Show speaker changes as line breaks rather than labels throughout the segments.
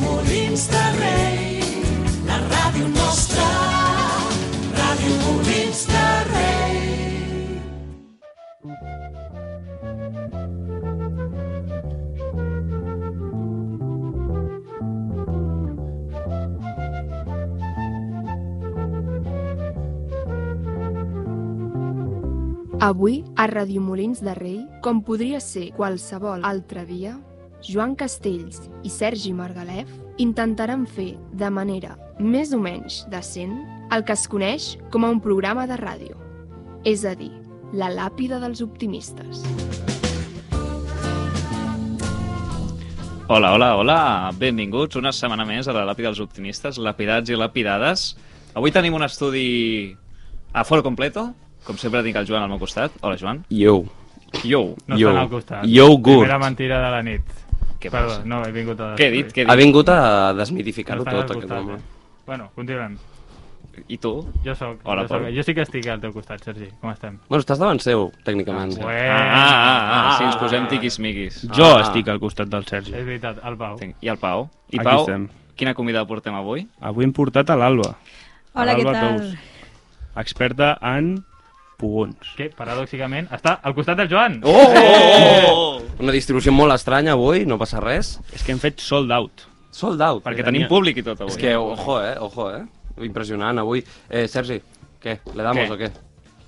Molins de Rei, la ràdio nostra, Ràdio Molins de Rei.
Avui, a Radio Molins de Rei, com podria ser qualsevol altre dia, Joan Castells i Sergi Margalef intentaran fer, de manera més o menys decent, el que es coneix com a un programa de ràdio, és a dir, la làpida dels optimistes.
Hola, hola, hola! Benvinguts una setmana més a la Làpida dels Optimistes, lapidats i lapidades. Avui tenim un estudi a foro completo. Com sempre tinc el Joan al meu costat. Hola, Joan.
Yo.
Yo.
No
Yo.
estan al costat.
Iogurt.
Primera mentira de la nit.
Què
Perdó,
passa?
no, he vingut a...
Què he dit? Què he
Ha
dit?
vingut a
No
desmitificar-ho
estan
tot,
al
aquest
costat,
home.
eh? Bueno, continuem.
I tu?
Jo sóc.
Hola,
jo, soc,
Pol.
jo sí que estic al teu costat, Sergi. Com estem?
Bueno, estàs davant seu, tècniquement.
Ué,
Ah, ah, ah, ah, sí, ens posem tiquis-miquis. Ah,
Jo
Ah.
estic al costat del Sergi.
és veritat, el Pau.
Tinc- I el Pau? I
Aquí
Pau,
estem.
quina comida portem avui?
Avui hem portat a l'Alba. A
Hola, què
l'Alba
tal?
Tous, Experta en pugons.
Que, paradòxicament, està al costat del Joan.
Oh! oh!
Una distribució molt estranya avui, no passa res.
És que hem fet sold out.
Sold out. Eh,
Perquè tenim
Tenia-
públic i tot avui.
És que, ojo, eh? Ojo, eh? Impressionant, avui. Eh, Sergi, què? Le damos
Què?
o què?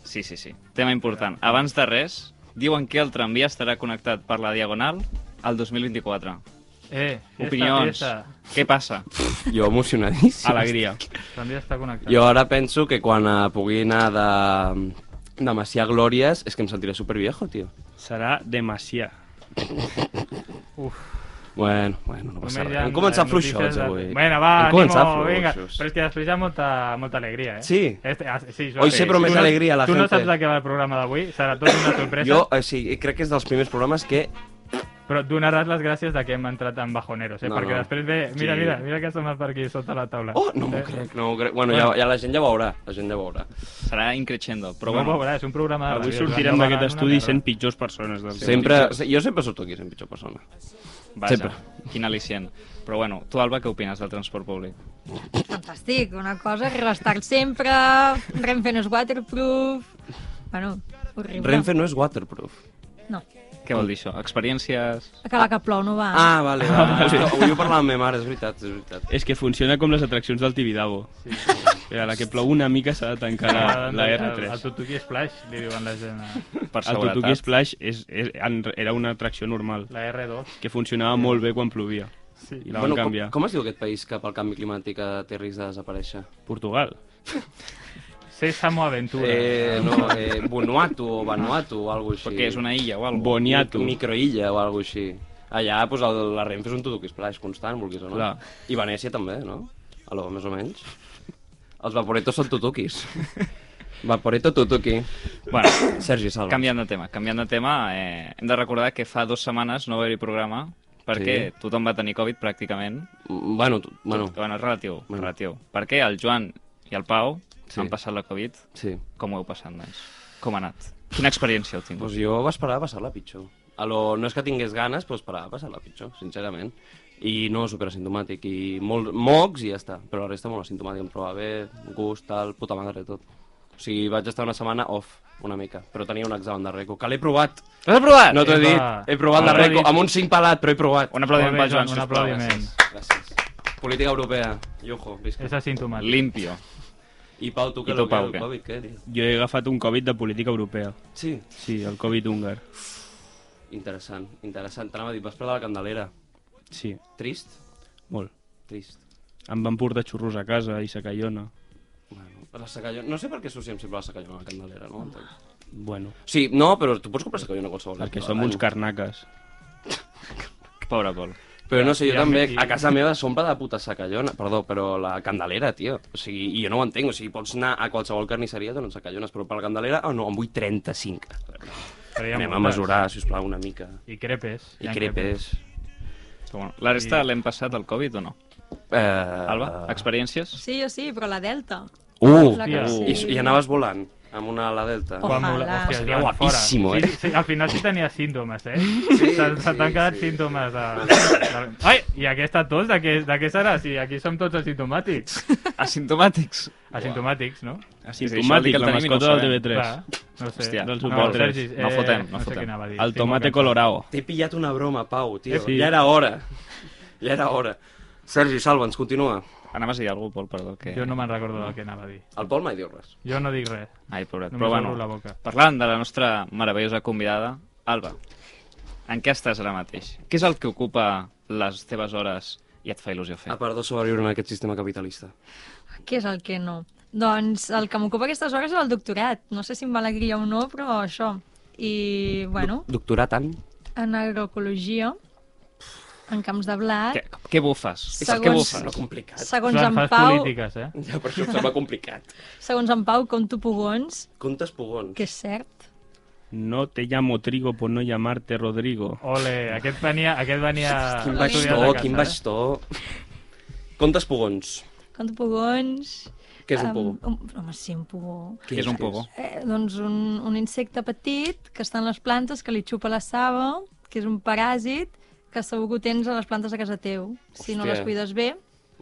Sí, sí, sí. Tema important. Abans de res, diuen que el tramvia estarà connectat per la Diagonal al 2024.
Eh, fiesta,
Opinions.
Fiesta.
Què passa?
Jo emocionadíssim.
Alegria.
També està connectat.
Jo ara penso que quan eh, pugui anar de, de Macià a Glòries és que em sentiré superviejo, tio.
Serà demasià.
Bueno, bueno, no passa
Només
res.
hi ha,
Hem començat
eh,
fluixots
notícies de-
avui.
Bueno, va,
Hem començat
ànimo, vinga.
fluixos.
Però és que després hi ha molta, molta alegria, eh?
Sí.
Este, ah, sí, Joan,
Hoy se promesa
Tu no-
alegría a la
Tu no
gente.
saps de què va el programa d'avui, serà tot una sorpresa,
Jo, eh, sí, crec que és dels primers programes que...
però donaràs les gràcies de que hem entrat en bajoneros, eh?
No,
Perquè
no.
després ve... Mira, mira, mira que som per aquí sota la taula. Eh,
Oh, no m'ho crec, no m'ho crec. Bueno, ja, ja la gent ja veurà, la gent ja veurà.
Serà increixendo, però
Però no,
bueno,
veurà, és un programa de
Avui
ràdio, Joan, Ah,
sortirem
no
d'aquest
van una
estudi
merda.
sent pitjors persones del que
Sempre,
hem dit.
jo sempre surto aquí sent pitjor persona.
vaja,
sempre.
quin al·licient. Però bueno, tu, Alba, què opines del transport públic?
Fantàstic, una cosa, restar sempre, Renfe no és waterproof... Bueno, horrible.
Renfe no és waterproof.
No,
Què vol dir això? Experiències...
que la que plou no va.
Ah, vale, vale. Ah, vale. Avui ho parlava amb ma mare, és veritat, és veritat.
És que funciona com les atraccions del Tibidabo. Sí. A la que plou una mica s'ha de tancar la, la
El, el
R3.
Tutuki Splash, li diuen la gent. a-
Per
El
seguretat.
Tutuki Splash és, és, en- era una atracció normal,
La R2.
que funcionava molt bé quan plovia.
Sí.
I la van
com,
canviar.
com es diu aquest país que pel canvi climàtic eh, té risc de desaparèixer?
Portugal.
Sésamo Aventura.
Eh, no, eh, Vanuatu o Vanuatu o alguna cosa així.
Perquè és una illa o alguna
Boniato.
Microilla o alguna així. Allà, doncs, el, la Renfe és un tutuki splash constant, vulguis o no.
Clar.
I Venècia també, no? Alò, més o menys. Els Vaporetos són tutukis. Vaporeto tutuki.
Bueno,
Sergi Salva.
canviant de tema, canviant de tema, eh, hem de recordar que fa dues setmanes no va haver-hi programa perquè sí. tothom va tenir Covid pràcticament.
Mm, Bueno, tu, bueno,
Bueno, és relatiu,
Bueno.
relatiu. Perquè el Joan i el Pau sí.
Sí.
han passat la Covid.
sí.
Com ho heu passat, nois? Com ha anat? Quina experiència heu tingut?
Doncs jo va esperar a passar-la pitjor. A lo, no és que tingués ganes, però esperava passar-la pitjor, sincerament. I no, superasimptomàtic. I molt, mocs i ja està. Però la resta molt asimptomàtic. Em trobava bé, gust, tal, puta madre, tot. O sigui, vaig estar una setmana off, una mica. Però tenia un examen de reco, que l'he provat.
L'has provat?
No t'ho he
Epa.
dit, he provat la
Molt bé.
reco, amb un cinc pelat, però he provat.
Un aplaudiment
Molt bé,
pel Joan,
Joan, un
sisplau.
aplaudiment.
Gràcies.
Gràcies. Política europea. Yujo, visca.
És asimptomàtic.
Limpio.
I Pau, tu
I
que
tu,
lo que
Pau,
el
què?
Covid, què? dius?
Jo he agafat un Covid de política europea.
Sí,
Sí, el Covid húngar.
interessant, interessant. T'anava a dir, vas perdre la candelera.
Sí,
Trist?
molt.
Trist.
Em van portar xurros a casa i sacallona.
Bueno, la sacallona... No sé per què associem sempre la sacallona a la candelera, no? Entenc.
Bueno,
Sí, no, però tu pots comprar sacallona a qualsevol. lloc
perquè
de
som uns
l'any.
carnaques.
Pobre Pol.
Però no sé, jo
Ja,
també,
i-
a casa meva s'omple de puta sacallona. Perdó, però la candelera, tio. O sigui, i jo no ho entenc. O sigui, pots anar a qualsevol carnisseria i donen sacallones, però per la candelera, oh no, en vull 35.
Però hi ha
Anem a
moltes.
mesurar, si us plau, una mica.
I crepes.
I crepes.
Però bueno, la resta l'hem passat el Covid o no?
Eh,
Alba, experiències?
Sí, jo sí, però la Delta.
Uh,
La
que
uh,
sí.
i, i anaves volant. amb una ala delta.
Oh.
Quan vola-
Ojalà.
hòstia,
Seria
Joan, fora.
guapíssimo, eh?
Sí, sí, al final sí tenia símptomes, eh?
Sí,
Se, se
sí,
t'han quedat
sí.
símptomes. De... de... Ai, i aquesta tos, de què, de què serà? Si aquí som tots asimptomàtics.
Asimptomàtics.
Asimptomàtics, no?
Asimptomàtic, la mascota del TV3.
no sé.
Hòstia,
Del
no,
Super3.
Sergi, eh,
No fotem, no
sé
fotem.
què anava a dir.
El
Estic
tomate
molt
colorado.
T'he pillat una broma, Pau, tio.
Sí.
Ja era hora. Ja era hora. Sergi, salva'ns, continua.
Anaves a dir alguna cosa, Pol, perdó.
cansat.
Que...
Jo no me'n recordo del que anava a dir.
El Pol mai diu res.
Jo no dic res.
Ai, pobret.
Només
Però
obro la
bueno,
boca.
parlant de la nostra meravellosa convidada, Alba, en què estàs ara mateix? Què és el que ocupa les teves hores i et fa il·lusió fer?
A part de sobreviure en aquest sistema capitalista.
Què és el que no? Doncs el que m'ocupa aquestes hores és el doctorat. No sé si em va alegria o no, però això. I, bueno,
Doctorar tant?
en agroecologia, en camps de blat,
Què, què bufes?
Segons-
Què
Sembla
bufes?
complicat.
segons
Joan,
Doncs en
fas
Pau,
polítiques, eh?
Ja per això em sembla complicat.
segons en Pau, compto pogons,
Contes pogons.
que és cert.
No te llamo Trigo por no llamarte Rodrigo.
Ole, aquest venia, aquest venia...
Quin
estudiat
bastó,
a
quin
casa,
bastó. Contes pogons.
Compto pogons...
Què és un
em,
pogó?
un- um, home, sí, un pogó.
Què és un pogó?
Eh, doncs un, un insecte petit que està en les plantes, que li xupa la saba, que és un paràsit que segur que ho tens a les plantes de casa teu. Si no
Hòstia.
les cuides bé,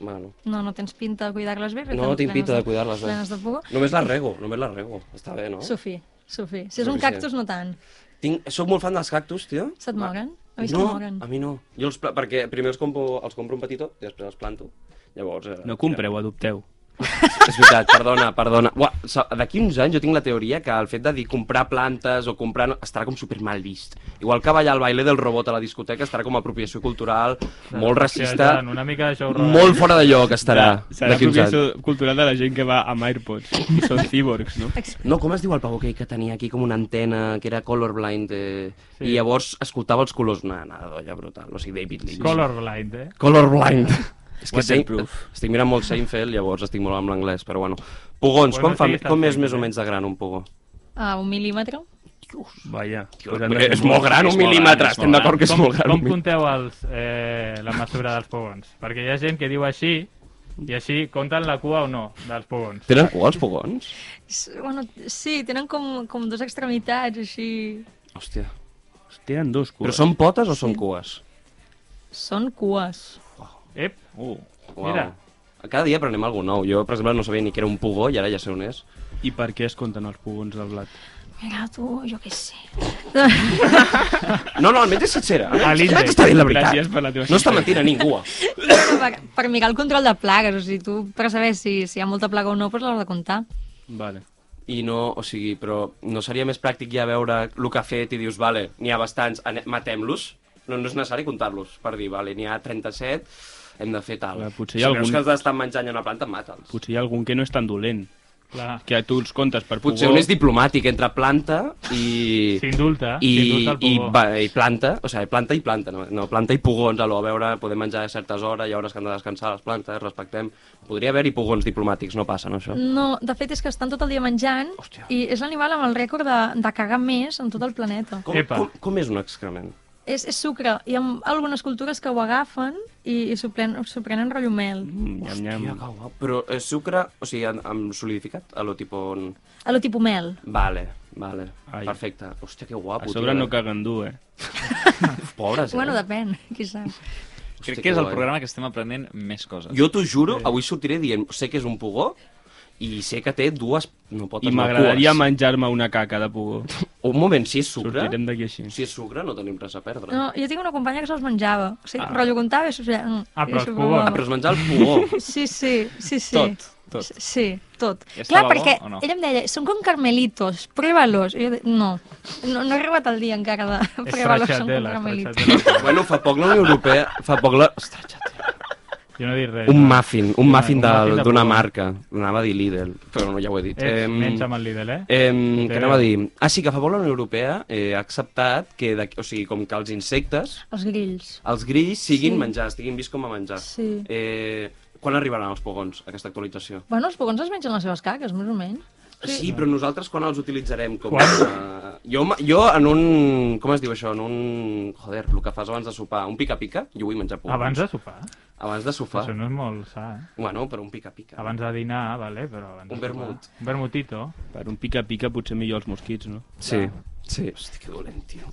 Bueno,
No, no tens pinta de cuidar-les bé. perquè
No,
estan
tinc pinta
plenes
de cuidar-les bé.
Plenes de por.
només la rego, només la rego. Està bé, no?
Sofí, Sofí. Si és un
Suficient.
cactus, no tant.
Tinc... Soc molt fan dels cactus, tio.
Se't moren? A mi se't
no,
moren.
a mi no. Jo els pla... Perquè primer els compro, els compro un petitó i després els planto. Llavors... Eh,
No compreu, adopteu.
És veritat, perdona, perdona. Uà, sa- d'aquí uns anys jo tinc la teoria que el fet de dir comprar plantes o comprar no, estarà com super mal vist. Igual que ballar al baile del robot a la discoteca estarà com a apropiació cultural, molt
Hòstia,
racista,
Joan, una mica de show
molt fora de lloc estarà
Serà
d'aquí uns anys.
apropiació cultural de la gent que va amb AirPods i són cíborgs, no?
No, com es diu el pavó aquell que tenia aquí com una antena, que era colorblind, eh,
Sí.
i llavors escoltava els colors, una anada d'olla brutal, o sigui, David Lynch.
Colorblind, eh?
Colorblind. És que sé,
Waterproof.
estic mirant molt Seinfeld, llavors estic molt amb l'anglès, però bueno. Pogons,
Bueno,
com, fa,
sí, està
com és
fent,
més o
eh?
menys de gran un pogó?
A un mil·límetre?
Vaja.
Tio, és molt gran,
és
un
molt gran,
mil·límetre.
és
Estem
molt
d'acord que és
com,
molt gran.
Com
un mil-
compteu els, eh, la mesura dels pogons? Perquè hi ha gent que diu així, i així compten la cua o no, dels pogons.
Tenen cua els pogons?
S- Bueno, sí, tenen com, com dues extremitats, així...
Hòstia.
Tenen dos cues.
Però són potes o són cues?
Són cues.
Ep,
Uh,
Uau.
Mira.
Cada dia aprenem alguna cosa nou. Jo, per exemple, no sabia ni que era un pogó i ara ja sé on és.
I per què es compten els pugons del blat?
Mira, tu, jo què sé.
No, no, almenys és sincera.
A l'índex.
Crec que està dient la veritat.
Gràcies per la teva
No està mentint a ningú.
per, per mirar el control de plagues, o sigui, tu per saber si, si hi ha molta plaga o no, doncs l'has de comptar.
Vale.
I no, o sigui, però no seria més pràctic ja veure el que ha fet i dius, vale, n'hi ha bastants, ane- matem-los? No, no és necessari comptar-los per dir, vale, n'hi ha 37, hem de fer tal.
Clar, potser hi
si
ha
veus
algun-
que els estan menjant en una planta, mata'ls.
Potser hi ha algun que no és tan dolent.
clar,
Que tu els comptes per
Potser
pugó...
un és diplomàtic entre planta i...
s'indulta,
i,
s'indulta el
i,
pogó.
va, i planta, o sigui, planta i planta, no, no planta i pugons, alò, a veure, podem menjar a certes hores, hi ha hores que han de descansar les plantes, respectem. Podria haver-hi pugons diplomàtics, no passa, no, això?
No, de fet és que estan tot el dia menjant
Hòstia.
i és l'animal amb el rècord de, de cagar més en tot el planeta.
Com,
Epa.
com, com és un excrement?
És, és sucre. Hi ha algunes cultures que ho agafen i, i s'ho pren, s'ho prenen rotllo mel.
Mm, Nyam,
Tia,
nyam.
que guau. Però és sucre, o sigui, en, amb solidificat, a lo tipo... On...
A lo tipus mel.
Vale, vale,
Ai.
Ai. perfecte. Hòstia, que guapo,
A sobre
tio.
no caguen dur, eh?
Pobres, eh?
Bueno, depèn, qui sap.
Hòstia,
crec que és el
guai.
programa que estem aprenent més coses.
Jo t'ho juro, avui sortiré dient, sé que és un pugó, i sé que té dues... No potes,
I
no,
m'agradaria
cues.
menjar-me una caca de pugó.
Un moment, si és sucre...
Sortirem d'aquí així.
Si és sucre, no tenim res a perdre.
No, jo tinc una companya que se'ls menjava. O sigui, ah. rotllo comptava i s'ho feia...
Ah, però
i
els
s'ho
cubons.
provava.
Ah, però es menjar el pugó.
Sí, sí, sí, sí.
Tot, tot.
S- Sí, tot.
I
Clar,
estava bo
perquè
o no?
ella em deia, són com carmelitos, prueba-los. I jo de... no. no, no he arribat al dia encara de prueba-los, són com
Estratxatela,
carmelitos.
estratxatela.
bueno, fa poc la Unió Europea... Fa poc la... Ostres, ja té-
Jo no dic res.
un
no.
muffin, un muffin
un muffin
del-
de
d'una
pugó.
marca. Anava a dir Lidl, però no, ja ho he dit.
Ets,
Em,
menys amb el Lidl, eh?
em,
Te
què anava a
veo.
dir? Ah, sí, que fa poc la Unió Europea eh, ha acceptat que, de, o sigui, com que els insectes,
Els grills.
els grills siguin
Sí.
menjar, estiguin vist com a menjar.
Sí.
Eh, quan arribaran els pogons, aquesta actualització?
Bueno, els pogons es mengen les seves caques, més o menys.
Sí, però nosaltres quan els utilitzarem? Com
Quan?
a- jo, ma- jo en un... Com es diu això? En un... Joder, el que fas abans de sopar. Un pica-pica? Jo vull menjar pogons.
Abans de sopar.
Abans de sopar.
Això no és molt sa, eh?
Bueno, però un pica-pica.
Abans de dinar, vale, però... Abans
Un
de
vermut.
sopar. Un vermutito.
Per un pica-pica potser millor els mosquits, no?
Sí, sí. Hosti, que dolent, tio.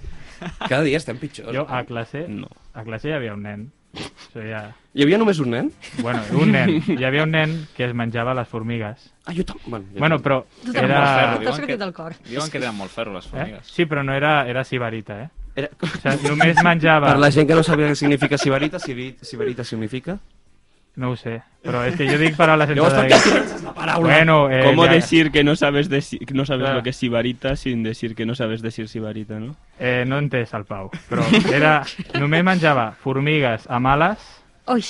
Cada dia estem pitjors.
Jo ah, a classe,
No.
a classe hi havia un nen. Això ja...
Hi havia només un nen?
Bueno, un nen. Hi havia un nen que es menjava les formigues.
Ah, jo també. Bueno, jo
Bueno,
tam-
però
Tu tens molt
era...
ferro. T'ho has sortit del cor.
Diuen que tenen molt ferro, les
Eh?
formigues.
Sí, però no era, era sibarita, eh?
Era...
O sigui, només menjava...
Per la gent que no sabia què significa Siberita, Siberi- Siberita significa...
No ho sé, però és que jo dic paraules sense...
Llavors, per què
saber.
utilitzes la paraula?
Bueno, eh,
¿Cómo
ja- Ah.
decir que no sabes, deci- no sabes
Claro.
lo que es sibarita sin decir que no sabes decir sibarita, no?
Eh, no entès el Pau, però era... Només menjava formigues amb ales
Ui,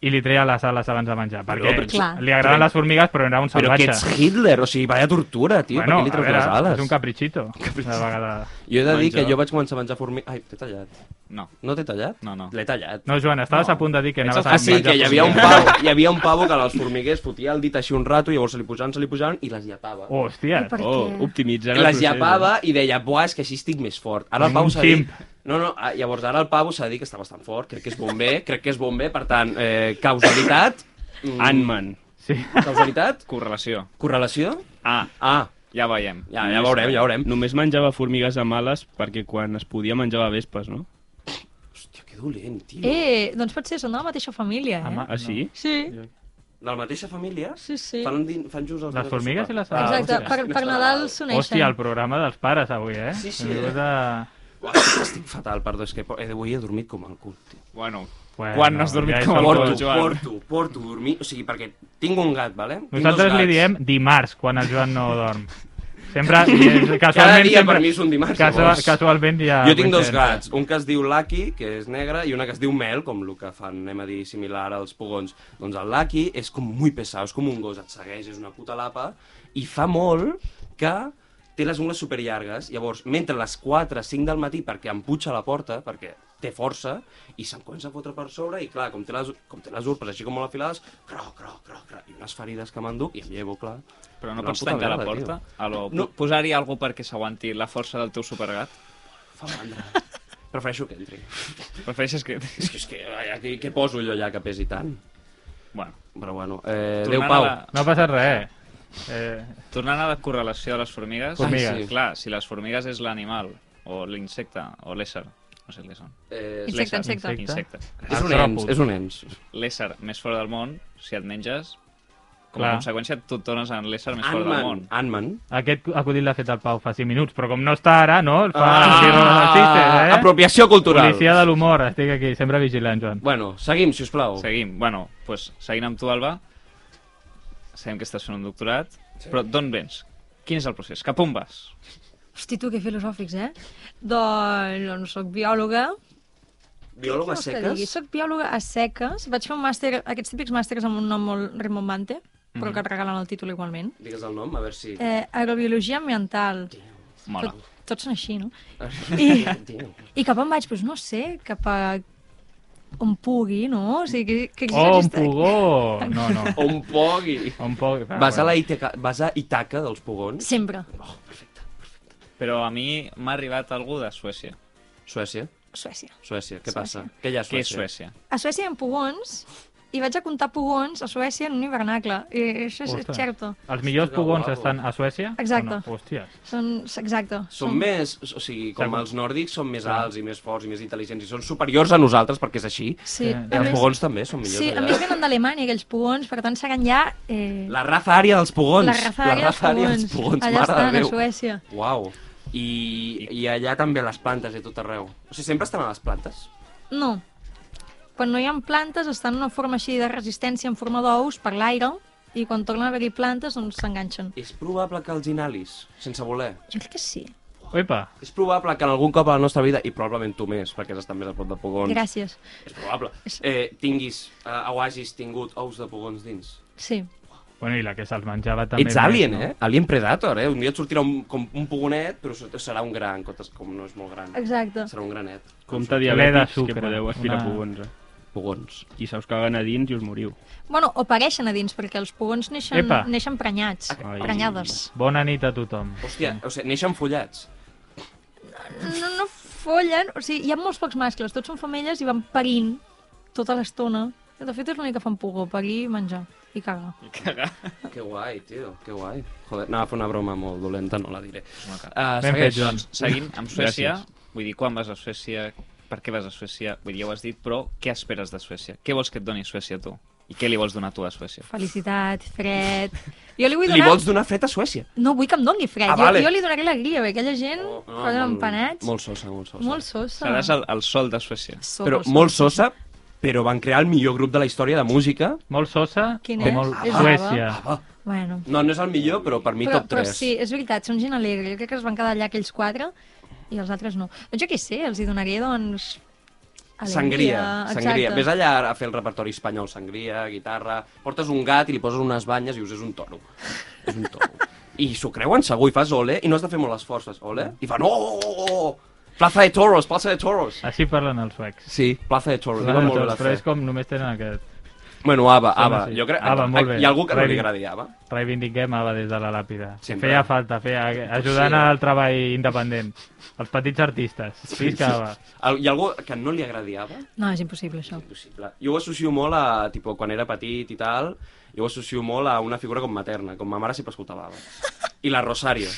i li treia les ales abans de menjar, perquè
però
ets- Clar.
li agraden les formigues, però era un
Però
salvatge.
que ets Hitler, o sigui, vaya tortura, tio, bueno, per què li treus les ales?
és un caprichito. Una vegada...
Jo he de dir
Menja.
que jo vaig començar a menjar formigues... Ai, t'he tallat.
No.
No t'he tallat?
No, no.
L'he tallat.
No, Joan, estaves
No.
a punt de dir que
Ets
anaves
el-
a
Ah, sí,
menjar
que hi havia un
formigues.
pavo, hi havia un pavo que als formiguers fotia el dit així un rato, llavors se li pujaven, se li pujaven i les llepava.
Oh, hòstia.
I per
Oh,
què?
optimitzant el
les
procés.
llepava i deia, buah, és que així estic més fort. Ara el
Com
Pau
un
s'ha dit...
ximp.
No, no, ah, llavors ara el Pau s'ha dit que està bastant fort, crec que és bomber, crec que és bomber, per tant, eh, causalitat... mm,
eh. Ant-Man.
Sí.
Causalitat?
Correlació.
Correlació?
Ah,
Ah,
ja veiem.
ja, ja veurem, ja veurem.
Només menjava formigues amb ales perquè quan es podia menjava vespes, no?
Hòstia, que dolent, tio.
Eh, doncs potser són de la mateixa família, eh?
Home.
Ah, sí?
Sí,
De la mateixa família?
sí, sí.
Fan, din, fan just els
Les formigues i les ales.
Exacte,
Ah, hòstia.
per, per Nadal s'uneixen.
Hòstia, el programa dels pares avui, eh?
Sí, sí.
Hem vingut a-
Uah, Ah, estic fatal, perdó, és que po- eh, avui he dormit com el cul, tio.
Bueno,
Bueno,
Quan no has dormit
és
com
el
el
cul.
Porto,
cul, Joan.
porto, porto dormir, o sigui, perquè tinc un gat, vale? Tinc
Nosaltres
dos
li
gats.
diem dimarts, quan el Joan no dorm. Sempre, casualment...
Cada dia
sempre,
per mi és un dimarts,
Casual,
llavors.
casualment ja...
Jo tinc dos
coincidència.
gats, un que es diu Lucky, que és negre, i una que es diu Mel, com el que fan, anem a dir, similar als pugons. Doncs el Lucky és com molt pesat, és com un gos, et segueix, és una puta lapa, i fa molt que té les ungles superllargues, llavors, mentre les 4, 5 del matí, perquè emputxa a la porta, perquè té força, i se'n comença a fotre per sobre, i clar, com té les, com té les urpes així com molt afilades, croc, croc, croc, croc, i unes ferides que m'enduc, i em llevo, clar.
però no
La
pots
puta
tancar la
merda, tio.
porta? Aló,
No.
no. Posar-hi alguna cosa perquè s'aguanti la força del teu supergat?
Fa mandra. Prefereixo que entri.
Prefereixes que...
És que, és que, ai, què, què poso jo allà que pesi tant?
Bueno,
Però bueno, eh,
Tornant
Déu
a
Pau.
la-
No ha passat res. Eh,
tornant a la correlació de les formigues...
Formigues.
Ai, sí. Clar, si les formigues és l'animal, o l'insecte, o l'ésser, no sé què són.
Eh,
Insecte,
L'ésser.
insecte.
Insecte.
és un
artròpod.
ens, és un ens.
L'ésser més fort del món, si et menges, com a
Clar.
conseqüència tu et tornes en l'ésser més fort del
Ant-Man.
món.
Ant-Man.
Aquest acudit l'ha fet el Pau fa 5 minuts, però com no està ara, no? El
Ah!
fa...
Ah,
Ah, eh?
apropiació cultural.
Policia de l'humor, estic aquí, sempre vigilant, Joan.
Bueno, seguim, si us plau.
Seguim. Bueno, pues, seguint amb tu, Alba, sabem que estàs fent un doctorat, sí. però d'on vens? Quin és el procés? Cap on vas?
Hosti, tu, que filosòfics, eh? Doncs, doncs soc biòloga,
Biòloga
Què vols que digui?
seques?
Soc biòloga a seques. Vaig fer un màster, aquests típics màsters amb un nom molt rimbombante,
Mhm.
però que et regalen el títol igualment.
Digues el nom, a veure si...
Eh, agrobiologia ambiental.
Mola.
Tot, tots són així, no?
I...
I cap on vaig? Doncs no sé, cap a on pugui, no? O sigui, que, que
Oh, un
aquesta-
pugó! No, no.
On pogui.
Un Ah, pugó.
Ah,
Vas a, la Itaca, vas a Itaca dels Pugons?
Sempre.
Però a mi m'ha arribat algú de Suècia.
Suècia.
Suècia.
Suècia, què
Suècia.
passa? Què hi ha a
Què és
Suècia?
Suècia?
A Suècia hi ha pugons, i vaig a comptar pugons a Suècia en un hivernacle. I això és
Ostres.
xerto.
Els millors
Que
pugons
guapo.
estan a Suècia? O
Exacte.
no? Hòsties.
Són, exacte.
Són més, o sigui, com
Segur.
els nòrdics, són més alts i més forts i més intel·ligents i són superiors a nosaltres perquè és així.
Eh,
Sí.
I
a
els
més-
pugons també són millors
Sí, a
allà.
més venen d'Alemanya, aquells pugons, per tant seran ja... Eh,
La raza ària dels pugons.
la raza
la raza ària dels pugons,
Allà
mare
estan,
de
a
Déu.
Suècia.
Uau. I, I allà també les plantes i tot arreu. O sigui, sempre estan a les plantes?
No. Quan no hi ha plantes, estan en una forma així de resistència en forma d'ous per l'aire, i quan tornen a haver-hi plantes, doncs s'enganxen.
És probable que els inalis, sense voler.
Jo crec que sí.
Uipa,
És probable que en algun cop a la nostra vida, i probablement tu més, perquè has estat més a prop de pugons,
Gràcies.
és probable, eh, tinguis eh, o hagis tingut ous de pugons dins.
Sí.
Bueno, i la que se'ls menjava també...
També Ets
més,
alien,
no?
eh? Alien Predator, eh? Un dia et sortirà un, com un pugonet, però sort- serà un gran, en comptes, com no és molt gran.
Exacte.
Serà un granet.
Compte
Ple de
diabètics
sucre.
que podeu aspirar
Una-
Una... pugons. eh?
Pugons.
I se us caguen a dins i us moriu.
Bueno, o pareixen a dins, perquè els pugons neixen,
Epa.
neixen prenyats,
Ai.
prenyades.
Bona nit a tothom.
Hòstia, o sigui, neixen follats.
No, no follen, o sigui, hi ha molts pocs mascles, tots són femelles i van parint tota l'estona. De fet, és l'únic que fan pugó, parir i menjar. I cagar.
Cagar.
Que guai, tio, que guai. Joder, anava a fer una broma molt dolenta, no la diré.
Ben
Ah,
Uh,
fet,
segueix,
Joan.
doncs.
Seguint amb Suècia, vull dir, quan vas a Suècia, per què vas a Suècia, vull dir, ja ho has dit, però què esperes de Suècia? Què vols que et doni Suècia tu? I què li vols donar tu a
Ah.
Suècia?
Felicitat, fred... Jo li vull
Li
donar...
vols donar fred a Suècia?
No vull que em doni fred.
Ah,
jo,
vale.
jo li donaré alegria, perquè aquella gent oh, posen empanats.
Molt sosa, molt sosa.
molt sosa.
Seràs el, el sol de Suècia.
So,
Però molt sosa, però van crear el millor grup de la història de música.
Molt sosa
Quin
o
és?
molt
És
Suècia.
Bueno.
No, no és el millor, però per mi
però,
top 3.
però sí, és veritat, són gent alegre. Jo crec que es van quedar allà aquells quatre i els altres no. Doncs jo què sé, els hi donaria, doncs... Alegria,
Sangria,
exacte.
sangria. Vés allà a fer el repertori espanyol, sangria, guitarra... Portes un gat i li poses unes banyes i dius, és un toro. És un toro. I s'ho creuen segur i fas ole i no has de fer molt esforç, fas ole i fan... Oh, oh, oh, oh, Plaza de toros, plaza de toros.
Així parlen els suecs.
Sí, plaza de toros, diuen molt bé la
Però
fe.
és com només tenen aquest.
Bueno, Ava, Ava,
sí.
jo crec... eh,
Ava, molt bé.
Hi ha algú que no li
Revi-
agradi Ava?
Reivindiquem Ava des de la làpida.
Sempre.
Feia falta, feia, ajudant
Sí.
al treball independent. Els petits artistes. Sí, sí. Ava.
Al- Hi ha algú que no li agradi Ava?
No, és impossible, això.
impossible. Jo ho associo molt a, tipo, quan era petit i tal, jo ho associo molt a una figura com materna, com ma mare sempre escoltava. Ava. I la Rosario.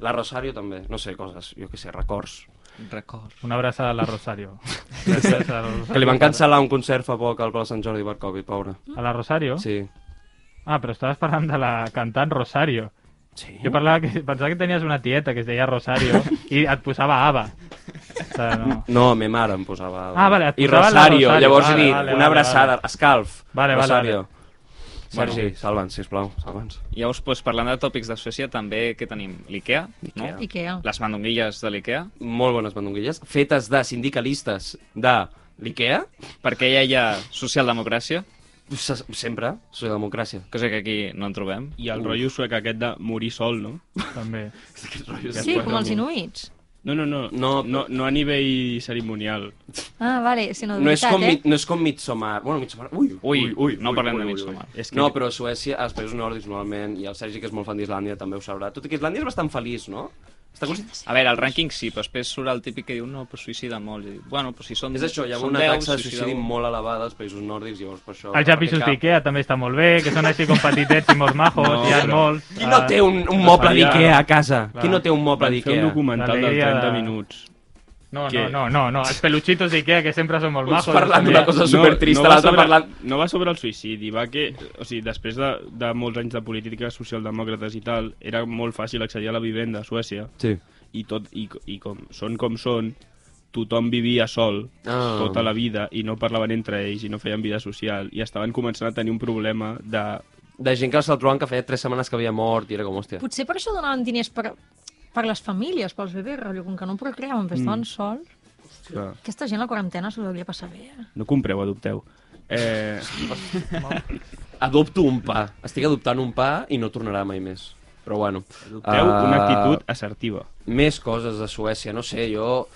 La Rosario també, no sé, coses, jo què sé, records.
Record.
Una abraçada a la Rosario. Gràcies a la Rosario.
Que li van cancel·lar un concert fa poc al Pla Sant Jordi Barcovi, pobra.
A la Rosario?
Sí.
Ah, però estaves parlant de la cantant Rosario.
Sí?
Jo parlava que, pensava que tenies una tieta que es deia Rosario i et posava Ava. O sigui, no.
No, me mare em posava... Ava.
Ah, vale, et
I
posava la
Rosario,
Rosario,
llavors
vale,
he dit,
vale, vale,
una abraçada, escalf.
Vale, vale,
Rosario.
vale.
Sergi, salva'ns, sisplau, salva'ns.
Llavors, doncs, parlant de tòpics de Suècia, també què tenim? L'IKEA, no?
Ikea.
I què?
Les mandonguilles de l'IKEA,
Molt bones mandonguilles, fetes de sindicalistes de l'IKEA,
perquè ja hi ha socialdemocràcia,
Se- sempre, socialdemocràcia.
cosa que aquí no en trobem.
I el rotllo suec aquest de morir sol, no?
També.
Sí, com els inuits.
No, no, no,
No,
no, no, no a nivell cerimonial.
Ah, vale, si no, de
No és,
veritat,
com,
eh?
mi- no és com Midsommar. Bueno, Midsommar... Ui,
Ui, no parlem de Midsommar.
És que... No, però a Suècia, als països nòrdics normalment, i el Sergi, que és molt fan d'Islàndia, també ho sabrà. Tot i que Islàndia és bastant feliç, no? Està constant...
A veure, el rànquing sí, però després surt el típic que diu no, però suïciden molt. I dic, bueno, però si són
És això, hi ha
són
una
10,
taxa de
suïcida
suïcidi
un.
molt elevada als països nòrdics, llavors per això...
Els japisos d'Ikea també està molt bé, que són així com petitets i molt majos,
No,
hi ha
però-
molts.
Qui no
Ah,
té un, un moble
Italià.
d'Ikea a casa?
Clar.
Qui no té un moble
Van fer un
d'Ikea?
documental de
L'alegria
30
de-
minuts.
No, no,
que-
no, no, no, els peluchitos d'Ikea, que sempre són molt
Uns
majos. eh,
parlant
també.
d'una cosa supertrista,
va
l'altra
sobre-
parlant...
No va sobre el suïcidi, va que... O sigui, després de, de molts anys de política socialdemòcrates i tal, era molt fàcil accedir a la vivenda a Suècia.
Sí.
I, tot, i, i com són com són, tothom vivia sol
Ah.
tota la vida i no parlaven entre ells i no feien vida social i estaven començant a tenir un problema de...
De gent que se'l trobaven que feia 3 setmanes que havia mort i era com, hòstia.
eh? Potser per això donaven diners per, per les famílies, pels bebès, rotllo, com que no procreaven,
Mm.
però estaven sols.
Clar.
Aquesta gent la quarantena s'ho devia passar bé, eh?
No compreu, adopteu. Eh,
Adopto un pa. Estic adoptant un pa i no tornarà mai més. Però bueno.
adopteu
Ah,
una actitud assertiva.
Més coses de Suècia, no sé, jo...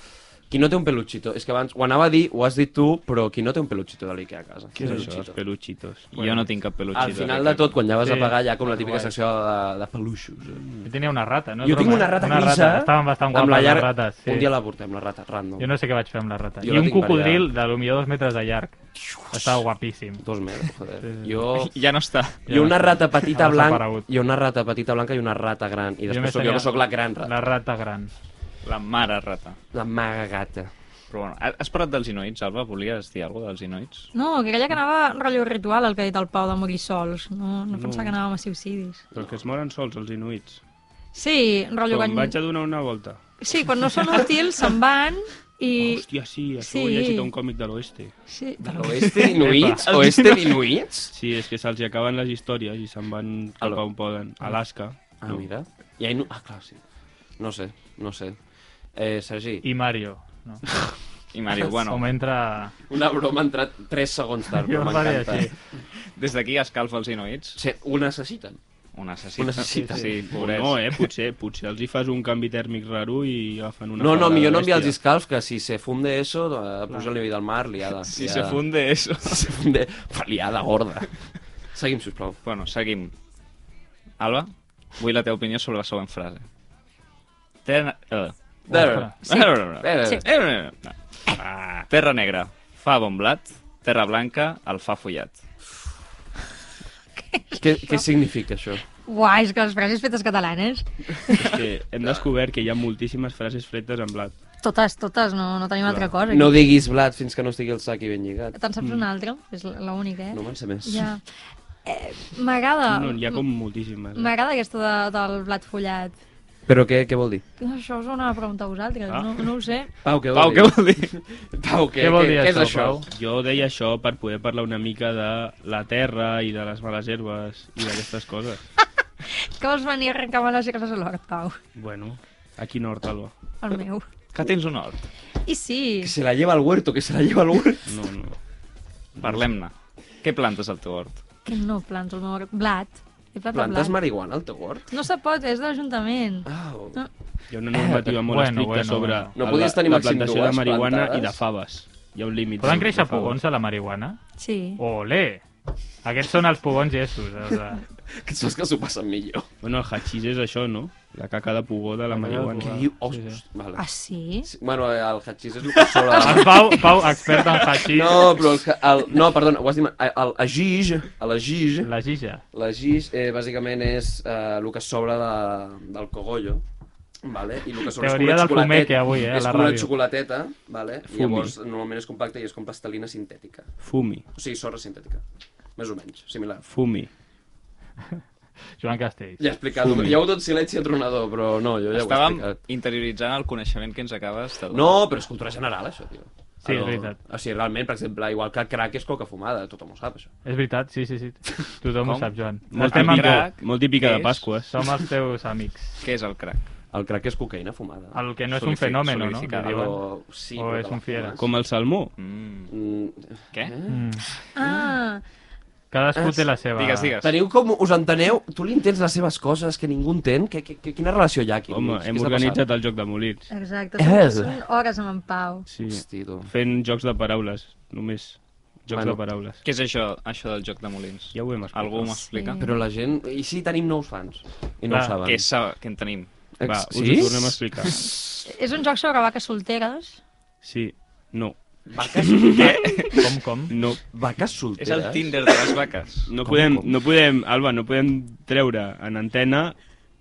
Qui no té un peluchito? És que abans ho anava a dir, ho has dit tu, però qui no té un peluchito de l'Ikea a casa?
Què és això, els peluchitos?
Jo no tinc cap peluixi.
Al final de tot, quan ja vas a
Sí.
pagar, hi ha com la típica
Guai.
secció de, de peluixos.
Jo tenia una rata, no? és
jo tinc
broma,
una
eh?
rata
una
grisa...
Rata. Estaven bastant
amb
guapes
la llar-
les rates, sí.
Un dia la portem, la rata, random.
Jo no sé què vaig fer amb la rata.
Jo
I
la
un
tinc
cocodril
variada.
de potser dos metres de llarg. Estava guapíssim.
Dos metres, joder.
Sí, sí.
Jo...
Ja no està.
Jo una rata petita
Ha
blanca,
desaparegut.
jo una rata petita blanca i una rata gran. I després
més
sóc jo
tenia
que sóc la gran rata.
La rata gran.
La mare rata.
La maga gata.
Però bueno, ha- has parlat dels inuits, Alba? Volies dir alguna cosa dels inuits?
No, que aquella que anava rotllo ritual, el que ha dit el Pau de morir sols. No, no, pensava que anàvem a suïcidis.
Però que es moren sols, els inuits.
Sí, rotllo...
Quan
Quan...
vaig a donar una volta.
Sí, quan no són útils, se'n van i...
Hòstia, sí, això
sí.
sí. ho he llegit a un còmic de l'oeste.
Sí,
Oeste inuits? Oeste inuits?
Sí, és que se'ls hi acaben les històries i se'n van cap
Aló.
a on poden. A Alaska.
Ah, mira. I ahí no... Ah, clar, sí. No sé, no sé. Eh, Sergi,
I Mario. No?
I Mario,
Com
bueno,
entra...
una broma ha entrat 3 segons tard,
Jo
però
em va dir
m'encanta.
així.
des d'aquí escalfa els inuits.
Sí, ho necessiten.
Un assassí.
Un assassí.
Sí,
O
pobrets.
no, eh? Potser, potser els hi fas un canvi tèrmic raro i agafen una...
No, no,
febrada
millor no enviar els
bèstia.
escalfs, que si se funde eso, eh, puja el nivell del mar, liada.
Si se
liada.
funde eso.
Si se funde... Fa Liada gorda. Seguim, sisplau.
Bueno, seguim. Alba, vull la teva opinió sobre la següent frase. Terra... eh.
There.
Eh, eh, eh,
Sí.
eh, eh, eh. Terra negra fa bon blat, Terra Blanca el fa follat.
Què, què significa això?
Uai, és que les frases fetes catalanes,
És que hem descobert que hi ha moltíssimes frases fretes en blat.
totes, totes, no, no tenim altra cosa.
No diguis blat fins que no estigui el sac i ben lligat.
Te'n saps una altra? És l- l'única, eh?
No me'n sé més.
Ja. Eh, M'agrada.
No, hi ha com moltíssimes. eh?
M'agrada aquesta de, del blat follat.
Però què, què vol dir?
Això us ho anava a preguntar a vosaltres, no, no ho sé.
Pau, què vol
Pau,
dir?
què vol dir?
Pau, què,
Què vol dir
què,
això,
és això?
Pau?
Jo deia això per poder parlar una mica de la terra i de les males herbes i d'aquestes coses.
Que vols venir a arrencar-me les xicles a l'hort, Pau?
Bueno, aquí no, Hortalo.
El meu.
Que tens un hort.
I sí,
Que se la lleva al huerto, que se la lleva al huerto.
No, no.
Parlem-ne. Què plantes al teu hort?
que no planto el meu hort. Blat. He plantat
Plantes Ah.
blat.
marihuana al teu hort?
No se pot, és de l'Ajuntament.
Au.
No.
Hi ha una normativa molt
Bueno,
estricta
bueno,
sobre
bueno.
No
la-
podies tenir
la
màxim
plantació de
dues
marihuana
plantades?
i de faves. Hi ha un límit.
Poden
de-
créixer
de faves.
pogons a la marihuana?
Sí.
Oh. Olé! Aquests són els eh, pogons llestos. Els de...
Que saps que s'ho passen millor.
Bueno, el hachís és això, no? La caca de pogó de la marihuana.
Què diu? Oh,
Sí, sí.
host- vale.
Ah, sí?
Sí, Bueno, el hachís és el que és sobre...
El Pau, Pau, expert en hachís,
No, però el, ha- el, no, perdona, ho has dit... mal. El agix, l'agix,
la gija.
l'agix eh, bàsicament és eh, el que sobra de, del cogollo, vale? I el que sobra
Teoria
és
del
com una
fumeque,
xocolateta.
avui, eh, a
és
la
com una
ràdio.
xocolateta, vale?
Fumi.
I llavors normalment és compacta i és com plastelina sintètica.
Fumi,
O sigui, sorra sintètica. Més o menys, similar.
fumi.
Joan Castells.
Ja he explicat, hi ha hagut un silenci atronador, però no, jo ja
Estàvem
ho he explicat.
interioritzant el coneixement que ens acabes de donar.
No, però és cultura general, això, tio.
Sí, és
Ah, no.
veritat.
O sigui, realment, per exemple, igual que el crack és coca fumada, tothom ho sap, això.
És veritat, sí, sí, sí. Tothom ho
Com?
sap, Joan.
Molt
Estem amb
típica,
tu.
crack
molt típica de
és-
Pasqües.
Som els teus amics.
Què és el crack?
El crack és cocaïna fumada.
El que no és un
Solidific-
fenomen, no? Que
solidificada.
diuen.
Però, sí,
O
però
és
te la
un fiera.
fumes.
Com el salmó.
Mm.
Mm,
Què?
Ah,
Cadascú té la seva...
Digues, digues.
Teniu com... Us enteneu? Tu li entens les seves coses que ningú entén? Que, que, que, quina relació hi ha aquí?
Home,
Què
hem
està
organitzat
passant?
el joc de molins.
exacte.
Eh.
Són, són hores amb en Pau.
Sí.
Hosti, tu.
Fent jocs de paraules, només. Jocs
Bueno.
de paraules.
Què és això, això del joc de molins?
Ja ho hem explicat.
Algú m'ho explica?
Sí.
Però la gent... I sí, tenim nous fans. I no
Clar,
ho saben.
Què, sa... Què en tenim?
Ex-
Va, us
sí?
ho tornem a explicar.
És un joc sobre vaques solteres.
Sí, no,
Vaques,
Com, com?
no.
vaques solteres?
És el Tinder de les vaques.
No
Com,
podem,
com?
no podem, Alba, no podem treure en antena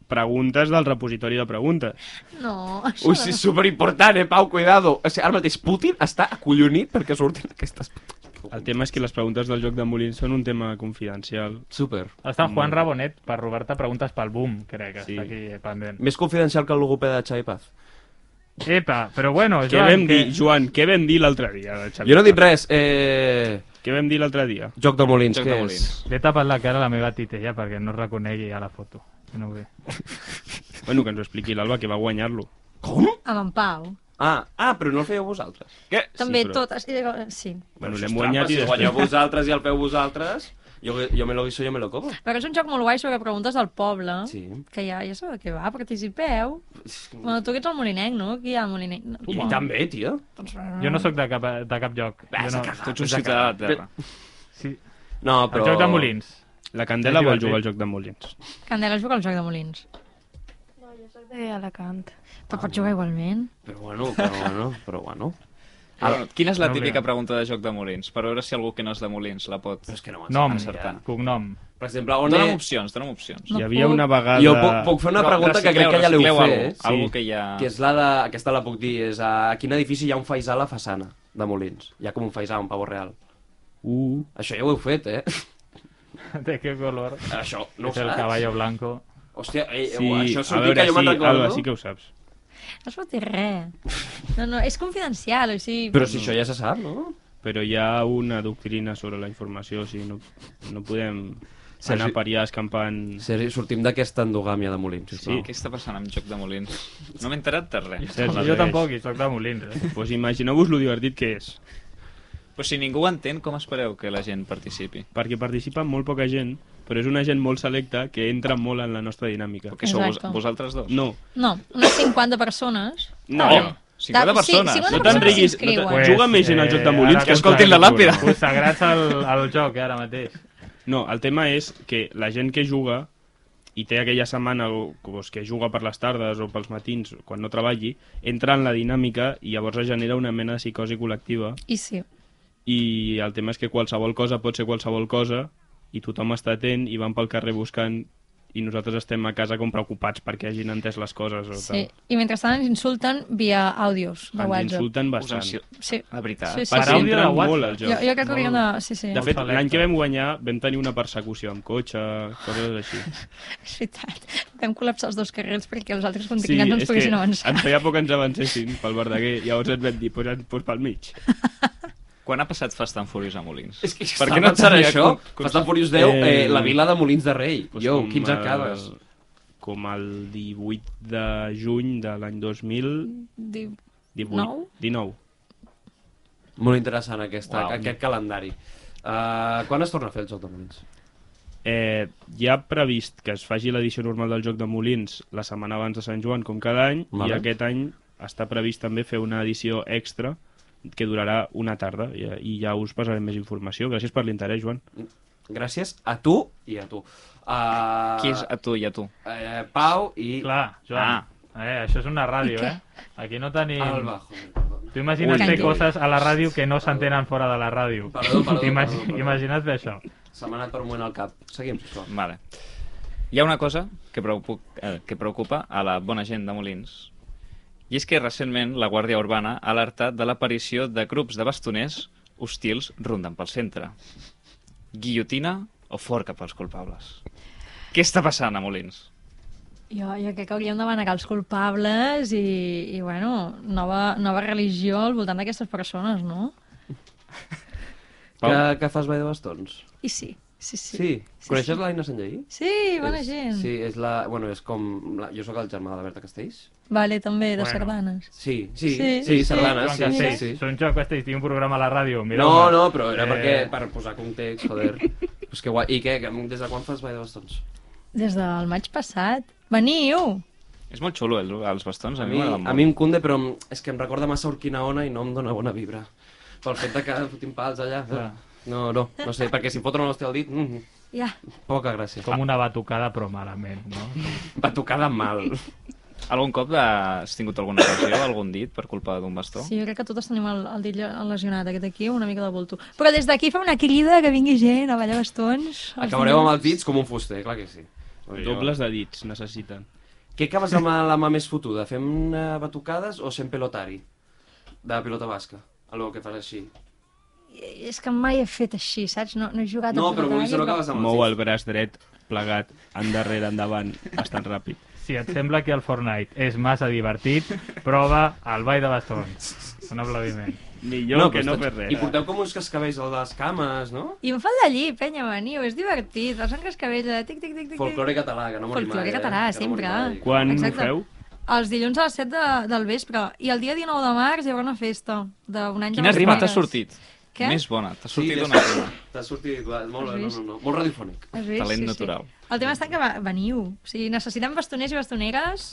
preguntes del repositori de preguntes.
No, això...
Ui, sí, és superimportant, eh, Pau, cuidado. O sigui, ara mateix Putin està acollonit perquè surtin aquestes...
El tema és que les preguntes del joc de Molins són un tema confidencial.
Super.
Està en Juan Rabonet per robar-te preguntes pel boom, crec que
Mm. Sí.
està aquí pendent.
Més confidencial que el logopeda de Xavi Paz.
Epa, però bueno,
Què vam
Joan,
dir, Joan, què vam dir l'altre dia? de Xavi?
Jo no he dit res. Eh...
Què vam dir l'altre dia?
Joc de Molins,
Joc
què
de molins.
és?
L'he tapat la cara a la meva titella perquè no es reconegui a la foto. Que No ho ve.
Bueno, que ens ho expliqui l'Alba, que va guanyar-lo.
Com?
Amb en Pau.
Ah, ah, però no el fèieu vosaltres.
Què?
També
però-
totes... eh, Sí.
Bueno, l'hem guanyat i
si
després...
guanyeu vosaltres i el feu vosaltres, jo, jo me lo guiso, jo me lo como.
Però és un joc molt guai sobre preguntes del poble.
Sí.
Que ja, ja sabeu què va, participeu. Bueno, tu que ets el molinenc, no? Qui hi ha al molinenc? No. doncs,
I també, tio.
Jo no sóc de cap, de cap lloc. Jo no...
Tu ets un ciutadà de la Terra.
Sí.
No,
El
però...
joc de molins.
La Candela vol
divertit.
jugar al joc de Molins.
Candela juga al joc de molins.
De Alacant.
Però pots jugar igualment.
Però bueno, però bueno, però bueno.
Ara, Ah, Quina és la
No,
típica
mira.
pregunta de joc de molins? Per veure si algú que no és de molins la pot...
Però és que no m'ho
Nom,
Encertant.
cognom.
Per exemple, on
Dóna'm
és...
opcions, dóna'm opcions.
No
Hi havia
puc.
una vegada...
Jo puc, puc fer
Però
una
Ah.
pregunta que crec
recicleu,
que ja l'heu
recicleu
fet,
algú,
eh?
Algú que ja...
Que és la de... Aquesta la puc dir, és a quin edifici hi ha un faisà a la façana de Molins. Hi ha com un faisà, un pavó real.
Uh,
Això ja ho heu fet, eh?
De què color?
Això, no ho
és el
saps?
caballo blanco.
Hòstia, ei,
sí,
això és
a
un
veure,
que jo me'n
sí, Alba,
recordo.
sí que ho saps.
No es pot dir res. No, no, és confidencial, o sigui...
Però si això ja se sap, no?
Però hi ha una doctrina sobre la informació, o sigui, no, no podem anar
Sergi-
per allà escampant...
Sergi, sortim d'aquesta endogàmia de Molins, sisplau.
Sí, què està passant amb joc de molins? No m'he enterat de res.
Sergi,
jo tampoc, i sóc de molins. Eh?
Pues imagineu-vos lo divertit que és,
Però si ningú ho entén, com espereu que la gent participi?
perquè participa molt poca gent, però és una gent molt selecta que entra molt en la nostra dinàmica.
Perquè sou vos,
Exacte.
vosaltres dos?
No,
No, unes 50 persones.
no,
Oh, 50
Da- sí,
persones.
50
no
persones.
te'n riguis, no
s'inscriuen.
te- juga més gent al joc de
eh,
molins
ara
que
consagrats-
escoltin la làpida.
Consagrats al, al joc, eh, ara mateix.
No, el tema és que la gent que juga i té aquella setmana o, doncs, que juga per les tardes o pels matins quan no treballi, entra en la dinàmica i llavors es genera una mena de psicosi col·lectiva
I sí.
i el tema és que qualsevol cosa pot ser qualsevol cosa i tothom està atent i van pel carrer buscant i nosaltres estem a casa com preocupats perquè hagin entès les coses o
Sí.
tal.
I mentrestant ens insulten via àudios de
Ens
WhatsApp.
insulten Ah,
Us
bastant.
ansio-
Sí.
La veritat.
Sí, sí.
Per
Per àudio de
entren
WhatsApp.
molt al joc.
Jo, jo crec que hauríem de... Sí, sí.
De fet,
Molt
l'any
selecte.
que vam guanyar vam tenir una persecució amb cotxe, coses així.
És veritat. Vam col·lapsar els dos carrils perquè els altres contrincants no ens
és
poguessin
que
avançar.
Ens feia poc que ens avancessin pel Verdaguer, llavors ens vam dir, pues, ens- pues pel mig.
Quan ha passat Fast and Furious a Molins?
És que
Per
per
què
què
no
no serà
tenia
això?
com- com-
Fast and Furious 10, eh,
Eh,
la vila de Molins de Rei.
Pues
jo,
com
15
el-
arcades.
Com el 18 de juny de l'any 2018.
Diu,
19? 19.
Molt interessant aquesta,
Uau.
aquest calendari. Uh, quan es torna a fer el joc de Molins?
Eh, hi ha previst que es faci l'edició normal del Joc de Molins la setmana abans de Sant Joan, com cada any,
Vale.
i aquest any està previst també fer una edició extra que durarà una tarda i, i ja us passarem més informació. Gràcies per l'interès, Joan.
Gràcies a tu i a tu. Uh,
Qui és a tu i a tu?
Eh, Pau i Clar.
Clar,
Ah.
Joan. Eh, això és una ràdio,
I què?
eh? Aquí no tenim...
Alba. joder, perdona.
Tu imagina't
Ui,
fer
ui.
coses a la ràdio que no s'entenen fora de la ràdio.
Perdó, perdó,
Imag-
perdó, perdó.
Imagina't fer això.
Se m'ha anat per un moment al cap. Seguim, sisplau.
Mm.
Vale. Hi ha una cosa que, preocup, eh, que preocupa a la bona gent de Molins, i és que recentment la Guàrdia Urbana ha alertat de l'aparició de grups de bastoners hostils rondant pel centre. Guillotina o forca pels culpables? Què està passant a Molins?
Jo, jo crec que hauríem de manegar els culpables i, i bueno, nova, nova religió al voltant d'aquestes persones, no?
Pau.
Que, que fas ball de bastons?
I sí, sí, sí.
Sí. sí. Coneixes l'Aina Sanllaí?
Sí, bona
és,
gent.
Sí, és la... Bueno, és com... La, jo sóc el germà de la Berta Castells.
Vale, també, de
Bueno.
sardanes.
Sí, sí, sí,
Sí,
sí
sí.
sardanes, Ah,
Joan
sí, sí,
Castells,
sí.
Són jo que estic un programa a la ràdio. Mira,
No,
home.
no, però era
Eh,
perquè, per posar context, joder. pues que guai. I què, que, des de quan fas ball de bastons?
Des del maig passat. Veniu!
És molt xulo, el, els bastons. A
A mi,
mi,
a mi em cunde, però em- és que em recorda massa Urquinaona i no em dóna bona vibra. Pel fet de que fotin pals allà.
Clar.
No, no, no sé, perquè si em foten una hòstia al dit, mm,
Ja,
poca gràcia.
Com una batucada, però malament, no?
Va tocar de mal.
Algun cop eh, has tingut alguna ocasió, algun dit, per culpa d'un bastó?
sí, jo crec que totes tenim el, el dit lle- lesionat, aquest aquí, una mica de volto. Però des d'aquí fa una crida que vingui gent a ballar bastons. els
Acabareu amb els
dilluns.
dits com un fuster, clar que sí. Oi, jo-
Dobles de dits necessiten.
Què acabes amb la mà més fotuda? Fem eh, batucades o sent pelotari? De pilota basca. Algo que fas així.
I- És que mai he fet així, saps? No, no he jugat
No,
a
però
pilota
vull dir,
de
no
bàsquet,
acabes amb
Mou el
els dits.
braç dret, plegat, endarrere, endavant, bastant ràpid.
Si et sembla que el Fortnite és massa divertit, prova el ball de bastons. Un aplaudiment.
Millor no, que
però
no
estàs-
fer res.
doncs I porteu com uns cascabells a les cames, no?
I em fa el d'allí, penya, veniu, és divertit. Els sangres cabells, eh? tic, tic, tic, tic.
Folclore català, que no morim
Folclore
mai,
català,
eh? Que no morim
sempre.
mai.
Quan
Exacte.
ho feu?
Els dilluns a les 7 de, del vespre. I el dia 19 de març hi haurà una festa d'un any
Quina
de
rima
rima
t'ha sortit?
Què?
Més bona, t'ha
Sí,
sortit
t'ha
una
sortit-
rima.
T'ha sortit, clar, molt,
Has
bé, no,
vist?
no, no, molt radiofònic.
Has vist?
Talent natural.
El tema està que va, veniu. O sigui, necessitem bastoners i bastoneres.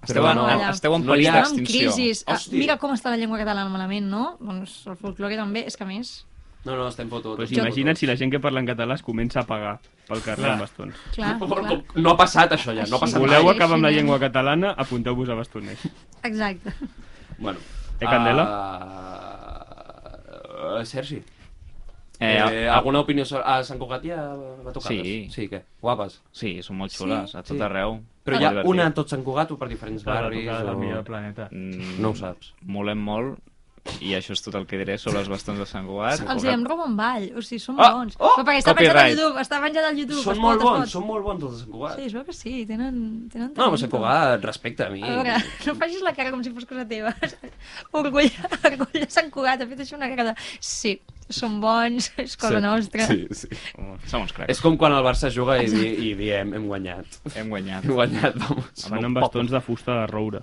Esteu en,
no, allà.
esteu en
No hi
perill
ha-
Estem en
d'extinció.
crisi. Ah,
Hòstia.
mira com està la llengua catalana malament, no? Doncs el folclore també, és que a més...
No, no, estem fotuts.
Pues
estem
imagina't si
fotuts.
la gent que parla en català es comença a pagar pel carrer amb bastons.
Clar, clar.
Com- No ha passat això ja, no ha
Així.
Si
passat
voleu
mai.
acabar amb la
Així,
llengua catalana, apunteu-vos a bastoners.
Exacte.
mai. Bueno.
Eh, Candela?
ah, eh, Sergi. Eh,
Eh,
alguna opinió sobre... A Sant Cugat ja va tocar.
Sí.
Sí, què? Guapes.
Sí, són molt xules, a tot
sí.
arreu.
Però
Molt
hi ha
divertit.
una a tot Sant Cugat o per diferents
La
barris?
batucada del millor
O...
planeta.
Mm,
No ho saps.
Molem molt, i això és tot el que diré sobre els bastons de Sant Cugat.
Els diem roba en ball, o sigui, són
Ah,
bons.
oh,
Però perquè està penjat al
copyright.
YouTube, està penjat al YouTube.
Són
es
molt
pot, es
bons,
pot.
són molt bons els de Sant Cugat.
Sí, es veu que sí, tenen, tenen
No, però
talento.
Sant Cugat, respecte a mi.
A veure, no facis la cara com si fos cosa teva. Orgull, orgull de Sant Cugat, ha fet això una cara de... Sí, són bons, és cosa nostra.
Sí, sí.
Som uns cracs.
És com quan el Barça juga i, di- i diem, hem guanyat.
Hem guanyat.
Hem guanyat, vamos.
Van amb bastons de fusta de roure.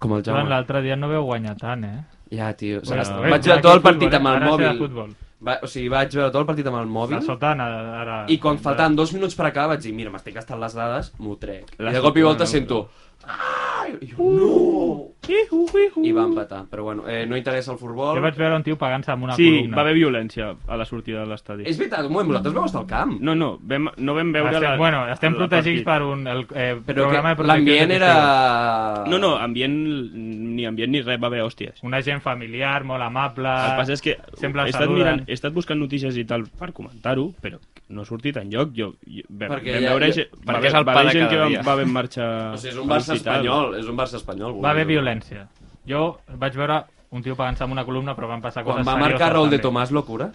Com el
Joan,
Jaume.
l'altre dia no veu guanyar tant, eh?
Ja, tio. O sigui,
Bueno,
bueno,
bé,
vaig veure
aquí
tot el
futbol,
partit amb
eh?
el
Ara serà
mòbil.
futbol.
Va, o sigui, vaig veure tot el partit amb el
La
mòbil
sotana, ara...
i quan faltant dos minuts per acabar vaig dir, mira, m'estic gastant les dades, m'ho trec.
La
I de cop i volta
sotana,
sento... Ai, I jo, no! i va empatar. Però bueno, eh, no interessa el futbol.
Jo vaig veure un tio pagant-se amb una
Sí,
columna.
va haver violència a la sortida de l'estadi.
És veritat, un moment, vosaltres vau estar al camp.
No, no, vam, no vam veure...
Estem,
la,
bueno, estem
la
protegits
partit.
per un el, eh,
Però que
programa de protecció.
l'ambient era...
d'efectius.
No, no, ambient, ni ambient ni res, va haver hòsties.
Una gent familiar, molt amable...
El que passa és que
Ah, sempre
he
el
estat,
saluden.
mirant, he estat buscant notícies i tal per comentar-ho, però no ha sortit enlloc. Jo, jo, vam,
Perquè
vam
ja-
veure
jo-
gent- va
perquè
haver-
és el
va
pa
haver
de
gent
cada
que va,
dia.
va haver en marxa...
O sigui, és un Barça
a l'hospital.
espanyol, és un Barça espanyol.
Va haver
vulguis.
violència. Jo vaig veure un tio pagant-se amb una columna, però van passar
Quan
coses
va
serioses,
marcar Raúl de
també.
Tomàs, locura.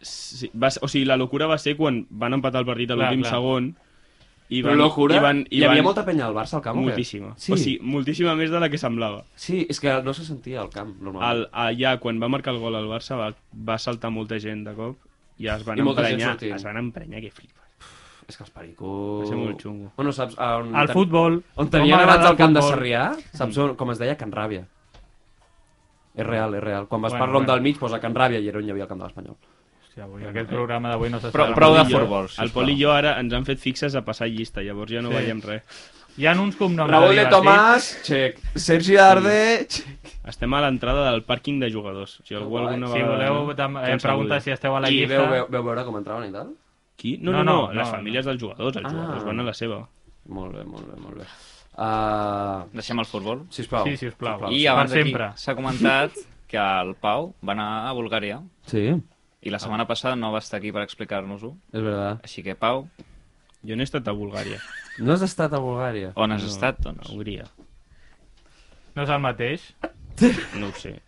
Sí, va, ser- o sigui, la locura va ser quan van empatar el partit a
Clar,
l'últim
clar.
segon i
Però
van,
locura,
i van, i
hi havia
van
molta penya al Barça al camp. o què?
moltíssima.
Sí,
O sigui, moltíssima més de la que semblava.
sí, és que no se sentia al camp, normalment.
El, allà, quan va marcar el gol al Barça, va, va saltar molta gent de cop i es van
I molta gent
emprenyar.
sortint.
Es van emprenyar, que flipes.
És que els pericos...
Va ser molt xungo.
Bueno, saps... Mm. On
El
ten-
futbol...
On
no
tenien
m'agrada
abans el camp de
futbol.
Sarrià, saps on, com es deia? Can Ràbia. És real, és real. Quan vas
Bueno,
per ronda
bueno.
al mig, posa Can Ràbia i era on hi havia el camp de l'Espanyol.
Hòstia, avui, aquest programa d'avui no s'està...
Prou- prou de
El Pol i jo-
futbol, sisplau.
El Pol i jo ara ens han fet fixes a passar llista, llavors ja no
Sí.
sí. veiem res.
Hi ha uns cognoms
Raúl de
divertits.
Tomàs, check. Sergi Arde, check.
Estem a l'entrada del pàrquing de jugadors. Si algú
guai.
alguna
Si
vegada...
voleu tam- eh,
ens
preguntar
saludi.
si esteu a la
I veu, veu,
llista...
veu veure com entraven i tal?
Qui? No,
No,
no, no,
no,
les
no,
famílies dels jugadors. Els
Ah.
jugadors van a la seva.
Molt bé, molt bé, molt bé. Uh,
Deixem el futbol.
sisplau.
Sí, sisplau.
I
per
abans d'aquí
sempre.
s'ha comentat que el Pau va anar a Bulgària
Sí, és
i la setmana passada no va estar aquí per explicar-nos-ho.
veritat.
Així que, Pau,
Jo no he estat a Bulgària.
No has estat a Bulgària?
on has
No,
estat, doncs?
A Hongria.
No és el mateix?
No ho sé.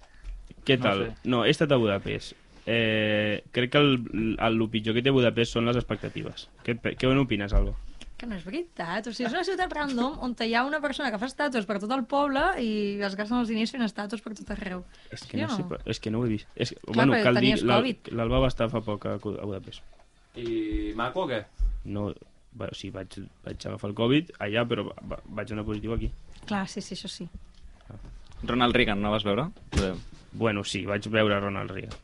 Què
No
tal? No,
sé.
he estat a Budapest. Eh, crec que el, el, el pitjor que té Budapest són les expectatives. Què, què n'opines, Alba?
Que no és veritat. O sigui, és una ciutat random on hi ha una persona que fa estàtues per tot el poble i es gasten els diners fent estàtues per tot arreu.
És que
Sí
no,
o no?
sé, però- és que no ho he vist. És que,
Clar,
bueno,
perquè
cal dir,
tenies
l'Al-
Covid.
l'Alba va estar fa poc a Cu- a Budapest.
I maco o què?
No, va, o sigui, vaig, vaig agafar el Covid allà, però va- va, vaig anar positiu aquí.
Clar, sí, sí, això sí.
Ronald Reagan, no vas veure?
Bueno, sí, vaig veure Ronald Reagan.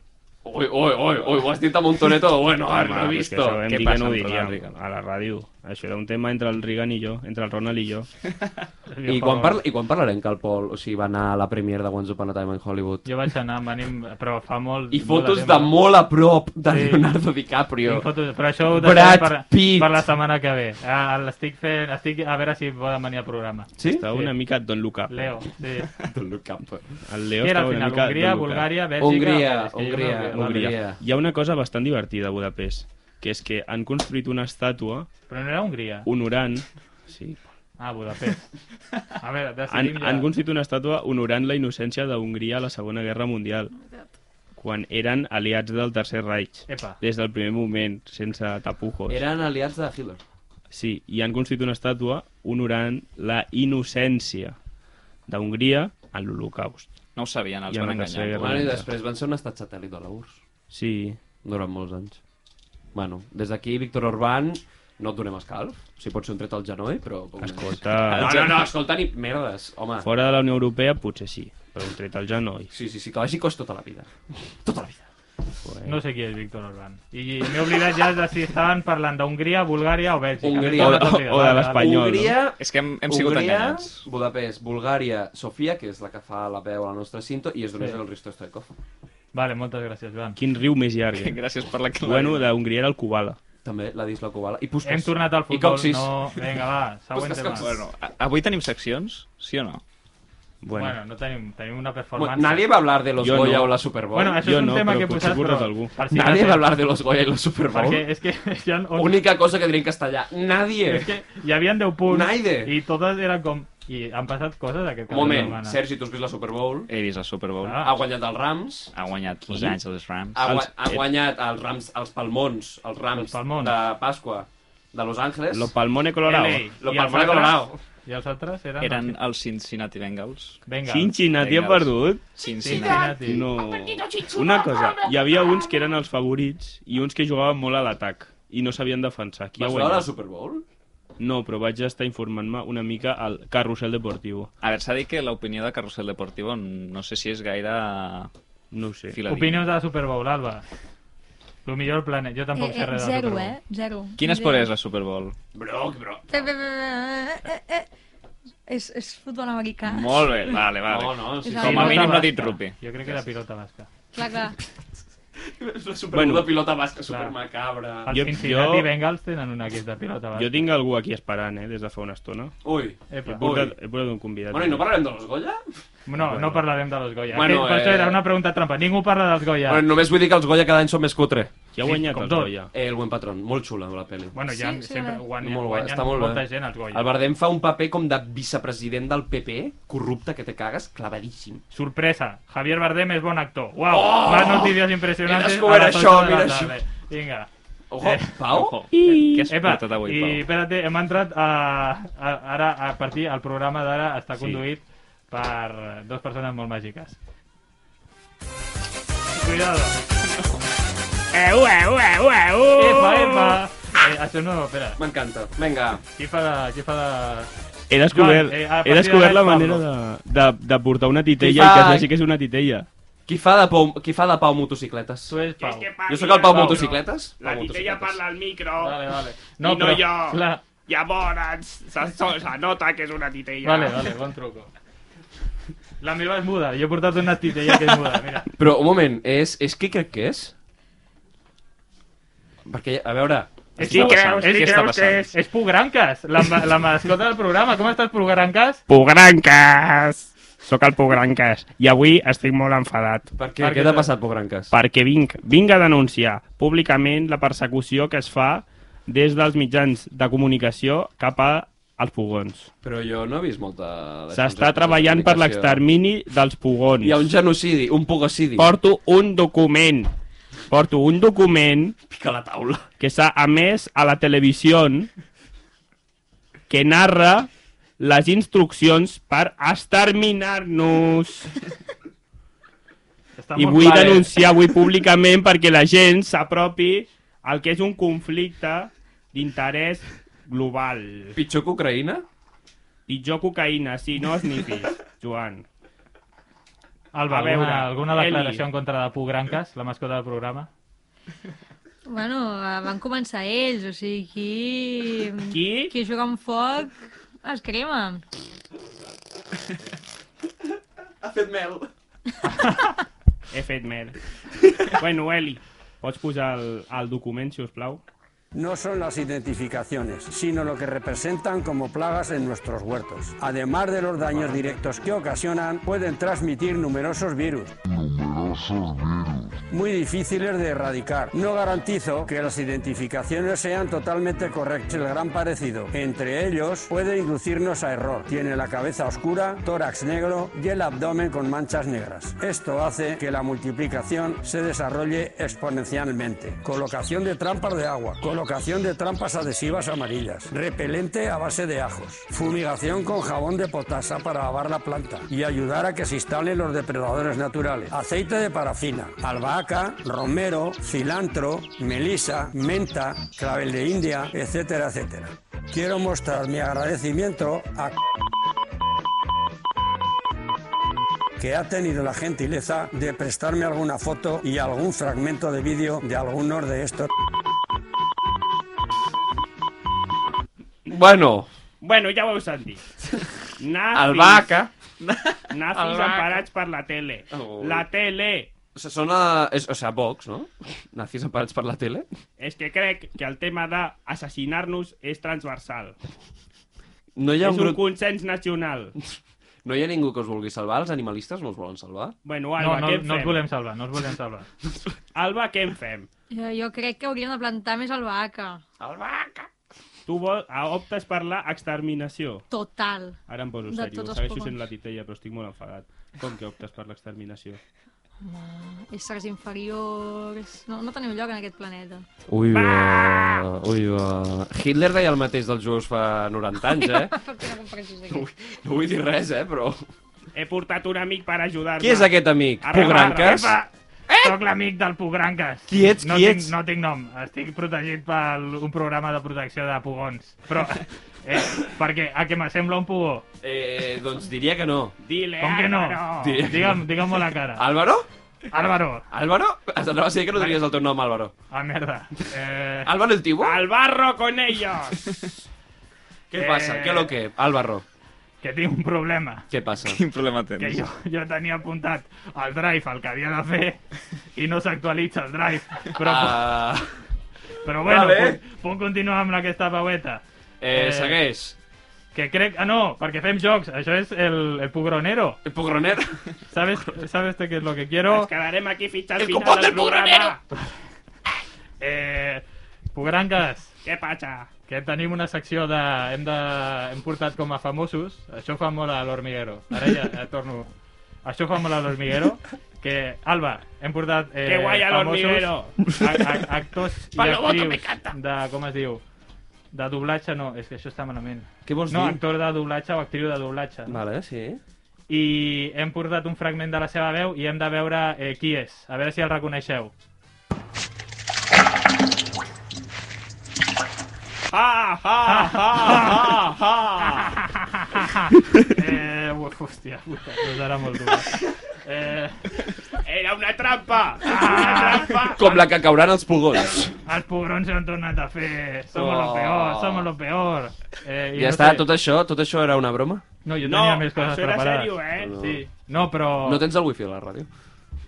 Ui, ui, ui, ui, ho has dit a Montoneto. Bueno,
Home,
ara no he
però és que
visto.
això vam
Què
dir
passa
que no ho
amb Ronald
diríem
Reagan?
a la ràdio. Això era un tema entre el Reagan i jo, entre el Ronald i jo.
I quan, parla, I quan parlarem que el Pol o sigui, va anar a la premiere de Once Upon a Time in Hollywood?
Jo vaig anar, em van im- però fa molt...
I
molt
fotos de
temps.
molt a prop de
Sí.
Leonardo
Tinc
DiCaprio.
Fotos, però això ho
Brad
deixem per,
Pitt.
per la setmana que ve. Ah, l'estic fent... Estic a veure si poden venir al programa.
Sí?
Estava
Sí.
una mica Don Luca.
Leo, sí.
Don't look up.
El Leo
Qui era
estava
al
una
final?
mica
Hongria,
Don Luca.
Bulgària, Bèlgica...
Hongria,
És que jo no-
Hongria,
vale.
Hongria.
Hongria.
Hi ha una cosa bastant divertida a Budapest, que és que han construït una estàtua
Però no era Hongria.
honorant... Sí.
Ah, Budapest. A veure,
Han,
decidim ja.
han construït una estàtua honorant la innocència d'Hongria a la Segona Guerra Mundial, quan eren aliats del Tercer Reich.
Epa.
Des del primer moment, sense tapujos.
Eren aliats de Hitler.
Sí, i han construït una estàtua honorant la innocència d'Hongria en l'Holocaust.
No ho sabien, els
I a
van
la tercera
enganyar.
guerra.
Bueno, i
Irlanda.
després van ser un estat satèl·lit de la URSS
Sí,
durant molts anys. Bueno, des d'aquí, Víctor Orbán, no et donem escalf. Si pot ser un tret al genoll, però... poc més. No,
Ah.
escolta,
no, no, escolta, ni merdes, home.
fora de la Unió Europea potser sí, però un tret al genoll.
Sí, sí, sí, que vagi cos tota la vida. Tota la vida.
No sé qui és Víctor Orbán. I m'he oblidat ja de si estaven parlant d'Hongria, Bulgària o Bèlgica.
Hongria.
M'he tornat a
O-
oblidar.
o de
Vale,
l'Espanya. Espanyol, no?
Hongria,
És que hem, hem sigut
Hongria,
enganyats.
Budapest, Bulgària, Sofia, que és la que fa la veu a la nostra cinto, i és d'on
Sí.
és el Risto Stoikov.
vale. Vale, moltes gràcies, Joan.
Quin riu més llarg. eh?
Gràcies per la clara.
Bueno, d'Hongria era el Kubala.
També la Disla Kubala. I Puskas.
Hem tornat al
I
futbol.
Coxis.
No, vinga, va, següent
Busques
tema.
coses.
Bueno,
Bueno, a- avui tenim seccions, sí o no?
Bueno, bueno
no tenim, tenim una
Bueno,
performance.
nadie va a hablar de los
Jo
Goya
no.
o la Super Bowl.
Bueno, això
Jo
és un
no,
tema
però
que he
potser
posat,
portes
però...
algú.
per si
Nadie
de-
va a hablar de los Goya y la Super Bowl.
Perquè és que hi ha, on,
Única cosa que diré en castellà.
és
Nadie.
que hi havia 10 punts
Naide.
i totes eren com... I han passat coses
Un
aquest cap de
moment,
setmana.
Sergi, tu has vist la Super Bowl?
He vist el Super Bowl.
Ah.
Ha guanyat els Rams.
Ha guanyat Los
Qui?
Angeles Rams.
Ha, Ah, gua
Els-
ha guanyat els Rams, els Palmons, els Rams
Els eh. Palmons.
de Pasqua, de Los Angeles.
Lo Palmone Colorado.
LA.
Lo
I
Palmone
els altres-
Colorado.
I els altres eren...
Eren els Cincinnati Bengals.
Vinga.
Cincinnati ha
Bengals.
perdut?
Cincinnati.
Cincinnati.
No. Una cosa, hi havia uns que eren els favorits i uns que jugaven molt a l'atac i no sabien defensar. Qui ha
Vas veure la
guanyat?
Super Bowl?
No, però vaig estar informant-me una mica al carrusel deportiu.
A veure, s'ha dit que l'opinió de Carrusel Deportivo no sé si és gaire...
No ho sé.
Filadina.
Opinions de la Super Bowl, Alba. El millor planet. Jo tampoc sé res de la
Eh,
Super
zero,
Bowl.
eh? Zero.
Quin
Ni
esport
idea.
és la Super Bowl?
Broc, broc.
Eh, eh, eh, eh, eh, eh. És, és futbol americà.
Molt bé, vale, vale.
No, no, sí,
És
sí.
el
Com a
Pilota
mínim no ha
basca.
dit rupi.
Jo crec que era pilota basca.
Clar, clar.
La super... bueno, la pilota basca, super
Els
macabra.
Jo-
Cincinnati
jo-
Bengals tenen un equip de pilota basca.
Jo tinc algú aquí esperant, eh, des de fa una estona.
Ui.
Epa.
He portat, he portat un convidat.
Bueno, i no parlarem de los Goya?
No, no parlarem de los Goya.
Bueno,
Bueno, per això
eh,
era una pregunta trampa. Ningú parla dels Goya.
Ja. Bueno, només vull dir que els Goya cada any són més cutre.
Qui ha guanyat
com
el
tot.
Goya?
Eh, el buen patrón, molt xula la pel·li.
Bueno, ja
Sí, sí,
sempre
va.
guanyen,
Molt guai,
guanyen
està molt bé.
molta gent els Goya.
El Bardem fa un paper com de vicepresident del PP, corrupte que te cagues, clavadíssim.
Sorpresa, Javier Bardem és bon actor. Uau, oh! más noticias impressionants.
He descobert
a les
això,
ocho de la
mira
tarde. Vinga.
Ojo,
Eh,
Pau?
Ojo, què has
Epa,
portat avui,
i
Pau?
espérate, hem entrat a, a, ara, a partir, el programa d'ara està
Sí.
conduït per dues persones molt màgiques. Cuidado.
Eu, eu, eu, eu!
Epa, epa! Eh, això no, espera.
M'encanta. Vinga.
Qui fa de... Qui fa de...
He descobert,
Joan, eh, a partir
he descobert la
d'ara
manera de, de, de portar una titella i
Qui fa-
que es vegi que és una titella.
Qui fa de Pau, qui fa de Pau motocicletes?
Tu és Pau.
Jo sóc el Pau Motocicletes. Pau Motocicletes.
al micro.
Vale, vale.
I no jo.
Clar,
Llavors, se nota que és una titella.
vale, vale, bon truco. La meva és muda, jo he portat una titella que és muda, mira.
Però, un moment, és, és qui crec que és? Perquè, a veure...
És
Què està passant? Què està passant?
És Pugranques, la, ma- la mascota del programa. Com estàs, Pugranques?
Pogranques! Sóc el Pogranques i avui estic molt enfadat
Per què? Què
Per què
t'ha
t'ha-
passat, Pobranques?
perquè vinc, vinc a denunciar públicament la persecució que es fa des dels mitjans de comunicació cap a els pugons.
Però jo no he vist molta...
S'està treballant per l'extermini dels pugons.
Hi ha un genocidi, un pugocidi.
Porto un document, porto un document
Pica la taula.
que s'ha emès a la televisió que narra les instruccions per exterminar-nos.
Està
I
molt
vull
clar, eh?
denunciar avui públicament perquè la gent s'apropi al que és un conflicte d'interès global.
Pitjor que Ucraïna?
Pitjor cocaïna, sí, no snipis, Joan.
Alba,
A veure,
alguna, alguna
Eli.
declaració en contra de Pugranques, la mascota del programa?
Bueno, eh, van començar ells, o sigui, qui...
Qui?
Qui juga amb foc es crema.
Ha fet mel.
He fet merda. bueno, Eli, pots posar el, el document, si us plau?
No son las identificaciones, sino lo que representan como plagas en nuestros huertos. Además de los daños directos que ocasionan, pueden transmitir numerosos virus. Muy difíciles de erradicar. No garantizo que las identificaciones sean totalmente correctas. El gran parecido entre ellos puede inducirnos a error. Tiene la cabeza oscura, tórax negro y el abdomen con manchas negras. Esto hace que la multiplicación se desarrolle exponencialmente. Colocación de trampas de agua. Colocación de trampas adhesivas amarillas. Repelente a base de ajos. Fumigación con jabón de potasa para lavar la planta y ayudar a que se instalen los depredadores naturales. Aceite de parafina, albahaca, romero, cilantro, melisa, menta, clavel de India, etcétera, etcétera. Quiero mostrar mi agradecimiento a que ha tenido la gentileza de prestarme alguna foto y algún fragmento de vídeo de algunos de estos
Bueno,
Bueno, ja ho heu sentit. Nazis,
albahaca...
nazis emparats per la tele.
Oh.
La tele!
O sigui, sona... És, o sigui, Vox, no? Nazis emparats per la tele?
És que crec que el tema d'assassinar-nos és transversal.
No hi,
Ja
ha
és
un
un
grup...
consens nacional.
no hi ha ningú que us vulgui salvar? Els animalistes no us volen salvar?
Bueno,
No,
Alba,
no,
què en
no els
fem?
volem salvar, no els volem salvar.
Alba, què en fem?
Jo, jo crec que hauríem de plantar més albahaca.
Albahaca!
Tu vol, ah, optes per la exterminació.
Total.
Ara em poso
De
seriós.
tots els
Segueixo
pugons.
sent la titella, però estic molt enfadat. Com que optes per l'exterminació?
Éssers inferiors... No, no teniu lloc en aquest planeta.
Ui, va! Ui, va! Hitler deia el mateix dels jueus fa 90 anys, eh?
Fa que no compareixis aquí.
No, vull- no vull dir res, eh, però...
He portat un amic per ajudar-me.
Qui és aquest amic?
Arreba,
Pogranques?
arreba.
Eh? Soc l'amic del Pugranques.
Qui ets,
no
qui
tinc,
ets?
No tinc nom, estic protegit per un programa de protecció de pugons. Però, eh, perquè a que m'assembla un pugó.
Eh, doncs diria que no.
Dile,
Com
Eh,
que no?
Álvaro.
Di-
Digue'm, digue'm la cara.
Álvaro?
Álvaro.
Álvaro? Anava a dir que no diries el teu nom, Álvaro.
Ah, merda. Eh,
Álvaro el Tibo?
Al barro con ellos!
Què passa?
eh,
Què lo que? Álvaro.
que tinc un problema.
Què passa?
Quin problema
Que
tens?
jo, jo tenia apuntat al Drive el que havia de fer i no s'actualitza el Drive. Però,
Ah,
però bueno,
vale.
puc, puc continuar amb aquesta paueta.
eh,
Eh,
segueix.
Que crec... Ah, no, perquè fem jocs. Això és el, el pugronero.
El pogroner.
¿Sabes, ¿Sabes qué es lo que quiero?
quedaremos aquí ficha
El final compás del del programa.
Eh, Pugrangues. Què passa? Que tenim una secció de... Hem, de... hem portat com a famosos. Això fa molt a l'Hormiguero. Ara ja, ja eh, torno. Això fa molt a l'Hormiguero. Que, Alba, hem portat... Eh,
Que guai a l'Hormiguero.
famosos, a- a- Actors i
Palomoto, me
actrius
encanta.
de... Com es diu? De doblatge, no. És que això està malament.
Què vols
No,
dir?
actor de doblatge o actriu de doblatge.
Vale, sí.
I hem portat un fragment de la seva veu i hem de veure eh, qui és. A veure si el reconeixeu.
¡Ja, ja, ja, ja, ja!
Eh, uf, hòstia, puta, doncs ara molt dur. Eh,
Era una trampa! Una trampa!
Com la que cauran els pugons.
els pobrons s'han tornat a fer. Somos
Oh.
lo peor, somos lo peor. Eh, i
Ja
no
està,
sé-
tot això, tot això era una broma?
No, jo
No,
tenia més coses
això era
preparades.
sèrio, eh?
Sí. No, però...
No tens el wifi a la ràdio?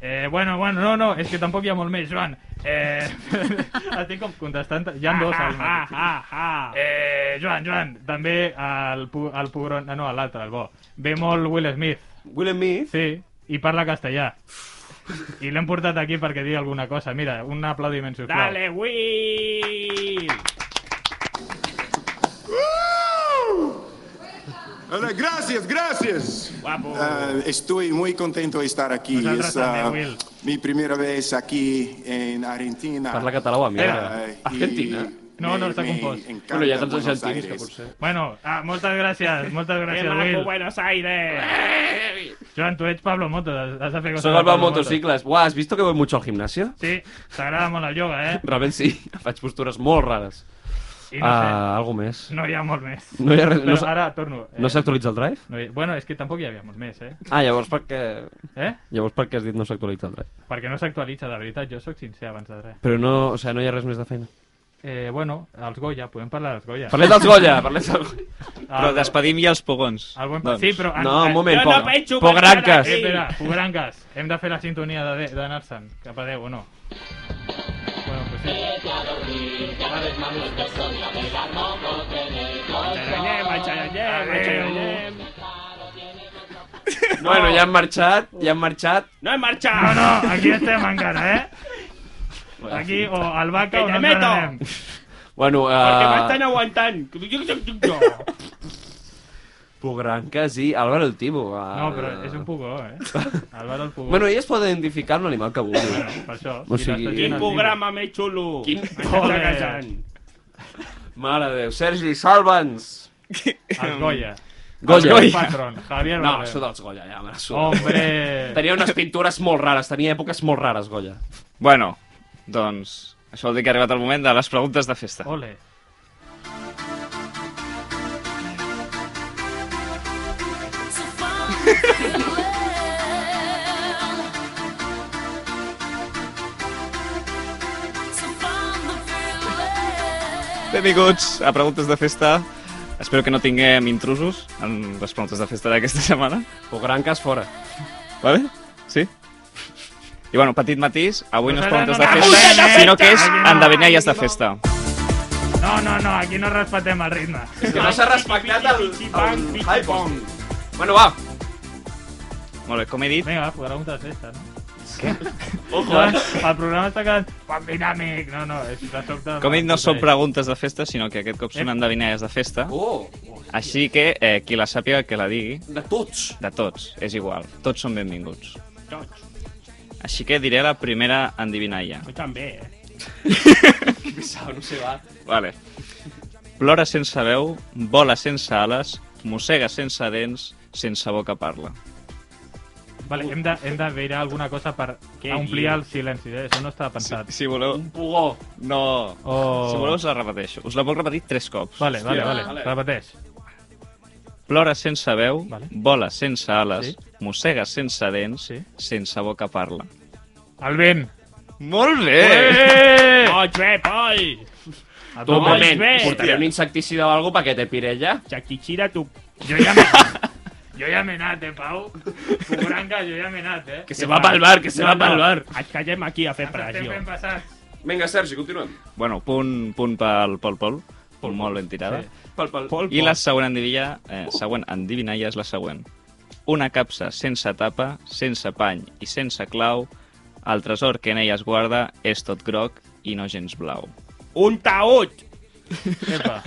Eh, bueno, bueno, no, no, és que tampoc hi ha molt més, Joan. Eh, estic com contestant... Hi
Ah,
ha dos al mateix. Eh, Joan, Joan, també el, pu- el pugron... No, l'altre, el bo. Ve molt Will Smith.
Will and me?
Sí, i parla castellà. I l'hem portat aquí perquè digui alguna cosa. Mira, un aplaudiment, sisplau.
Dale, Will!
Hola, gracias, gracias.
Guapo.
Ah, estoy muy contento de estar aquí.
Nosotros
Es ah,
también, Will.
mi primera vez aquí en Argentina.
Parla català o amiga.
Ah, y
Argentina?
No,
me-
no está
me
compost.
encanta
Bueno, hi ha tants
Buenos
argentins que
Aires.
potser...
Bueno, ah, moltes gràcies, moltes
¡Qué
gràcies,
maco,
Will.
Buenos Aires!
Joan, tu ets Pablo Motos, has has de fer coses
Soc
de
el
Pablo
meu
Motos.
motocicles. Uah, has visto que voy mucho al gimnasio?
Sí, t'agrada molt el ioga, eh?
Realment sí, faig postures molt rares.
I no
Ah, algo més.
sé, no hi ha molt més.
No hi ha res...
Però
No, s'ha-
ara torno.
no s'actualitza el drive?
eh, no hi... Bueno, és que tampoc hi havia molt més, eh?
Ah, llavors per què...
Eh?
Llavors per què has dit no s'actualitza el drive?
Perquè no s'actualitza, de veritat, jo sóc sincer abans de res.
Però no, o sigui, no hi ha res més de feina.
Eh, bueno, els Goya, podem parlar dels Goya.
Parlem dels Goya, parlem dels Goya.
Però
El-
despedim ja els pogons.
el Buen...
Doncs.
Ah, em- Sí, però...
No, un moment,
Jo no
poc.
penso
poc
marxar
ranques.
Eh, espera, Pobrangues, hem de fer la sintonia de- d'anar-se'n cap a 10 o no? Bueno, pues sí.
Xaranyem, xaranyem, xaranyem.
Bueno, ja han marxat, ja han marxat.
No he
No,
marxat!
no, aquí estem encara, eh? Aquí o al
Que
vaca o
te
no
meto.
entrarem.
Bueno,
Perquè
Ah.
m'estan
eh...
aguantant.
Pogranques i Álvaro el Tibo. eh.
No, però és un pugó, eh? Álvaro el pugó.
Bueno, ell es pot identificar amb l'animal que vulgui.
per això.
O
si
sigui-
l'estàs dient
Quin
al
programa més xulo.
Quin
poder.
M'està casant.
Mare de Déu. Sergi, salva'ns!
Tibor, Als Goya.
Goya.
Al Patron, Javier
No,
Bardem.
això dels Goya, ja me la suda.
Oh,
Hombre.
Tenia unes pintures molt rares, tenia èpoques molt rares, Goya.
Bueno, doncs això vol dir que ha arribat el moment de les preguntes de festa.
Ole.
Benvinguts a Preguntes de Festa. Espero que no tinguem intrusos en les preguntes de festa d'aquesta setmana.
O gran cas fora.
Vale? Sí? I bueno, petit matís, avui no és preguntes de
Avui
és de
festa,
festa!
sinó que és
Aquí no.
endevinalles de festa.
No, no, no, aquí no respetem el ritme.
És que no s'ha respectat el... el... hype. Bueno, va.
Molt bé, com he dit,
Vinga, va, podrà un testa, no? Què? Ojo, eh? El programa està quedant poc dinàmic. No, no, és de sobte...
com he dit, no són preguntes de festa, sinó que aquest cop són endevinalles de festa.
Oh,
Així que eh, qui la sàpiga, que la digui.
de tots.
De tots, és igual. Tots són benvinguts. Així que diré la primera endivinalla.
Jo també, eh?
Pisao, no sé, va.
Vale. Plora sense veu, vola sense ales, mossega sense dents, sense boca parla.
Vale, hem de, hem de veure alguna cosa per
Què
omplir
dius?
el silenci, eh? Això no estava pensat.
Si voleu...
Un pugó.
No.
Oh.
Si voleu us la repeteixo. Us la puc repetir tres cops.
Vale, vale,
Hòstia. Vale.
vale, repeteix.
Plora sense veu,
Vale.
vola sense ales,
Sí.
mossega sense dents,
Sí.
sense boca parla.
El vent.
Molt
Eh!
Pots bé, Pol!
Tu, un moment,
bé.
portaré un insecticida o algo perquè te pire ja.
Xaquichira, tu...
Jo ja m'he jo ja m'he anat, eh, Pau? Cucuranga, jo ja m'he anat, eh?
Que se va pel bar, que se va pel bar.
Et callem aquí a fer
Estem
pressió.
ben passats.
Vinga, Sergi, continuem.
Bueno, punt, punt pel Pol Pol. Pol molt ben tirada.
Pel, pel.
Pol,
I la següent endivilla, eh, següent endivinalla és la següent. Una capsa sense tapa, sense pany i sense clau, el tresor que en ella es guarda és tot groc i no gens blau.
Un taüt!
Epa.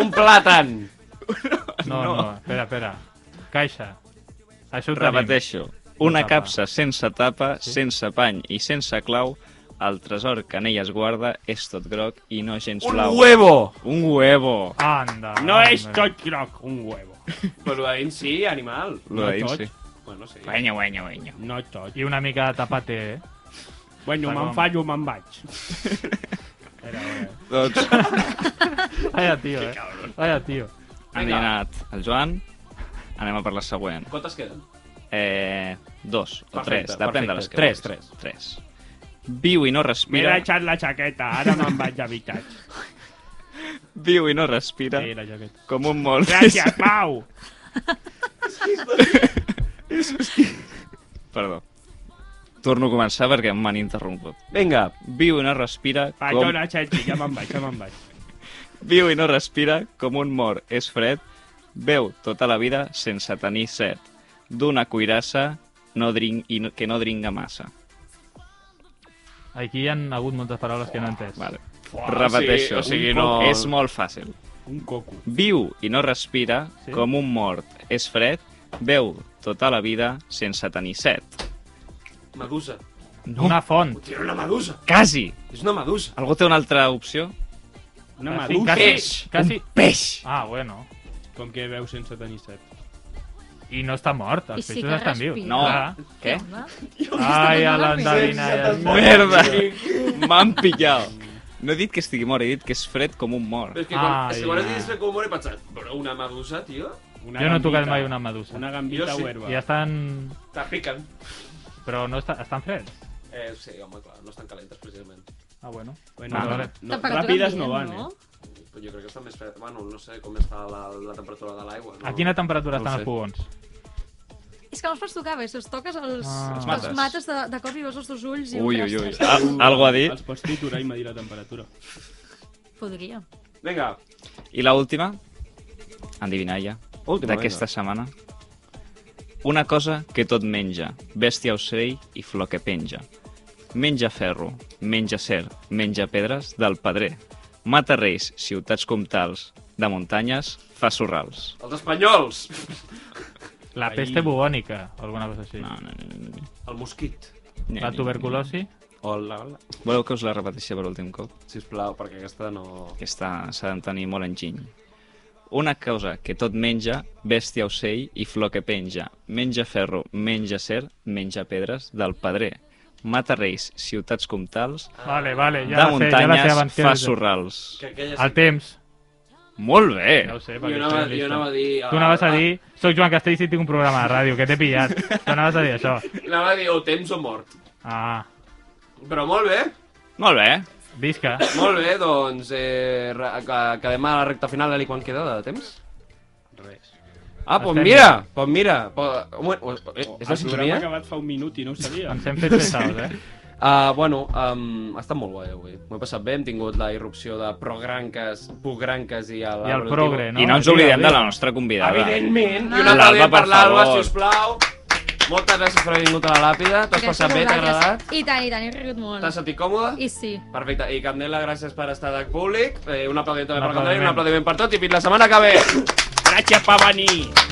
Un plàtan.
No, no, espera, espera. Caixa. Això ho tenim.
Repeteixo, una
Tapa.
capsa sense tapa, sense pany i sense clau, el tresor que en ella es guarda és tot groc i no gens
Un
blau.
huevo.
Un huevo!
Anda.
No
anda.
és tot groc, un huevo.
Però ahir sí, animal.
Lo de
tot.
sí.
Bueno, sí.
Guanya, guanya, guanya.
No tot.
I una mica de tapate, eh?
Bueno, me'n
Perdó.
fallo, me'n vaig.
Doncs
Vaya tío, eh? Vaya tío.
endinat el Joan, anem a per la següent.
Quantes queden?
Eh, dos o
Perfecte,
tres, depèn de les que
perfecte.
vulguis.
Tres,
Tres. Viu i no
M'he
respira,
deixat la jaqueta, ara me'n vaig d'habitatge.
viu i no respira,
Sí, la jaqueta.
com un molt...
Gràcies, Pau!
Perdó. Torno a començar perquè m'han interromput.
Vinga.
Viu i no respira, com...
Perdona, Sergi, ja me'n vaig, ja me'n vaig.
Viu i no respira, com un mort és fred, veu tota la vida sense tenir set. D'una cuirassa no drin... i no... que no dringa massa.
Aquí hi ha hagut moltes paraules que no he entès.
Vale.
Fuà,
Repeteixo,
o sigui,
un
no-
poc- és molt fàcil.
Un coco.
Viu i no respira,
Sí.
sí? com un mort és fred, veu tota la vida sense tenir set.
Medusa.
No,
Una font.
Tira una medusa.
quasi!
És una medusa.
Algú té una altra opció?
Casi,
Una maduca.
casi,
peix.
Casi...
Peix!
Ah, bueno.
Com que veu sense tenir set.
I no està mort,
I
els
sí
peixos
que
estan vius.
respira.
No,
Clar.
què?
Home,
Ai, a
donant la
l'endevina. ja.
Merda! M'han pillat! No he dit que estigui mort, he dit que és fred com un mort.
Però és que quan,
Ai,
és que quan has
ja.
dit fer com he pensat, però una medusa, tio,
Una
Jo no he tocat
gambita.
mai una medusa.
Una gambita
Jo sí.
o herba.
I estan...
te piquen.
Però no està... estan freds.
Eh, sí, home, clar, no estan calentes, precisament.
Ah, bueno.
Bueno,
Ah,
no,
vale.
no,
Tampoc et
ràpides
canvien,
no van, eh?
Però jo crec que estan més fredes. Bueno, no sé com està la, la temperatura de l'aigua. No?
A quina temperatura
No
estan
ho
els
sé.
pugons?
És que no els pots tocar bé, si els toques els,
Ah. Els
els
mates.
mates, de, de cop i veus els dos ulls i
Ui,
dius,
ui, ui.
"Ostres,
Ah, algo a dir.
Uh, Els pots triturar i medir la temperatura.
Podria.
Vinga,
I la última, endivinalla,
Última,
d'aquesta setmana. Una cosa que tot menja, bèstia ocell i flor que penja. Menja ferro, menja cer, menja pedres del pedrer. Mata reis, ciutats comtals, de muntanyes fa sorrals.
els espanyols!
La
Ahí.
peste bubònica, o alguna cosa així.
No, no, no, no, no.
El mosquit.
no.
La tuberculosi.
Hola, hola.
Voleu que us la repeteixi per últim cop?
Sisplau, perquè aquesta no...
Aquesta s'ha de tenir molt enginy. Una cosa que tot menja, bèstia ocell i flor que penja. Menja ferro, menja cer, menja pedres del pedrer. Mata reis, ciutats comtals,
Vale, vale,
de
ja la sé, ja la sé
muntanyes
abans que...
fa sorrals.
Que aquella...
El temps.
Molt bé!
Ja ho sé,
Ah, Jo
perquè
anava,
estic
jo
listo.
anava a dir... ah,
Tu anaves a dir, soc Joan Castells i tinc un programa de ràdio, que t'he pillat. Tu anaves a dir això.
Anava a dir o temps o mort.
Ah,
Però molt bé,
Molt bé!
visca.
molt bé, doncs eh, ra- ca- quedem a la recta final, Eli, quan queda de temps?
Res.
Ah, doncs
Estem
mira, doncs mira. Pues, un moment, eh, és la
El programa ha
sintonia?
acabat fa un minut i no ho sabia.
Ens hem fet pesados, eh?
Uh, bueno, um, ha estat molt guai avui. M'ho he passat bé, hem tingut la irrupció de progranques, pogranques i... A la
I el progre,
I no ens oblidem de la nostra convidada.
Evidentment! I un
L'Alba,
aplaudiment per
per
l'Alba,
favor.
sisplau. Moltes gràcies per haver vingut a la làpida. T'has
Gràcies
passat
a
bé, t'ha
vosaltres.
agradat?
I tant, i tant, he rigut molt.
T'has sentit còmode?
I sí.
Perfecte. I Candela, gràcies per estar de públic. Eh, un aplaudiment també per Candela
Un
i un
aplaudiment.
aplaudiment per tot. I fins la setmana que ve!
Gràcies per venir!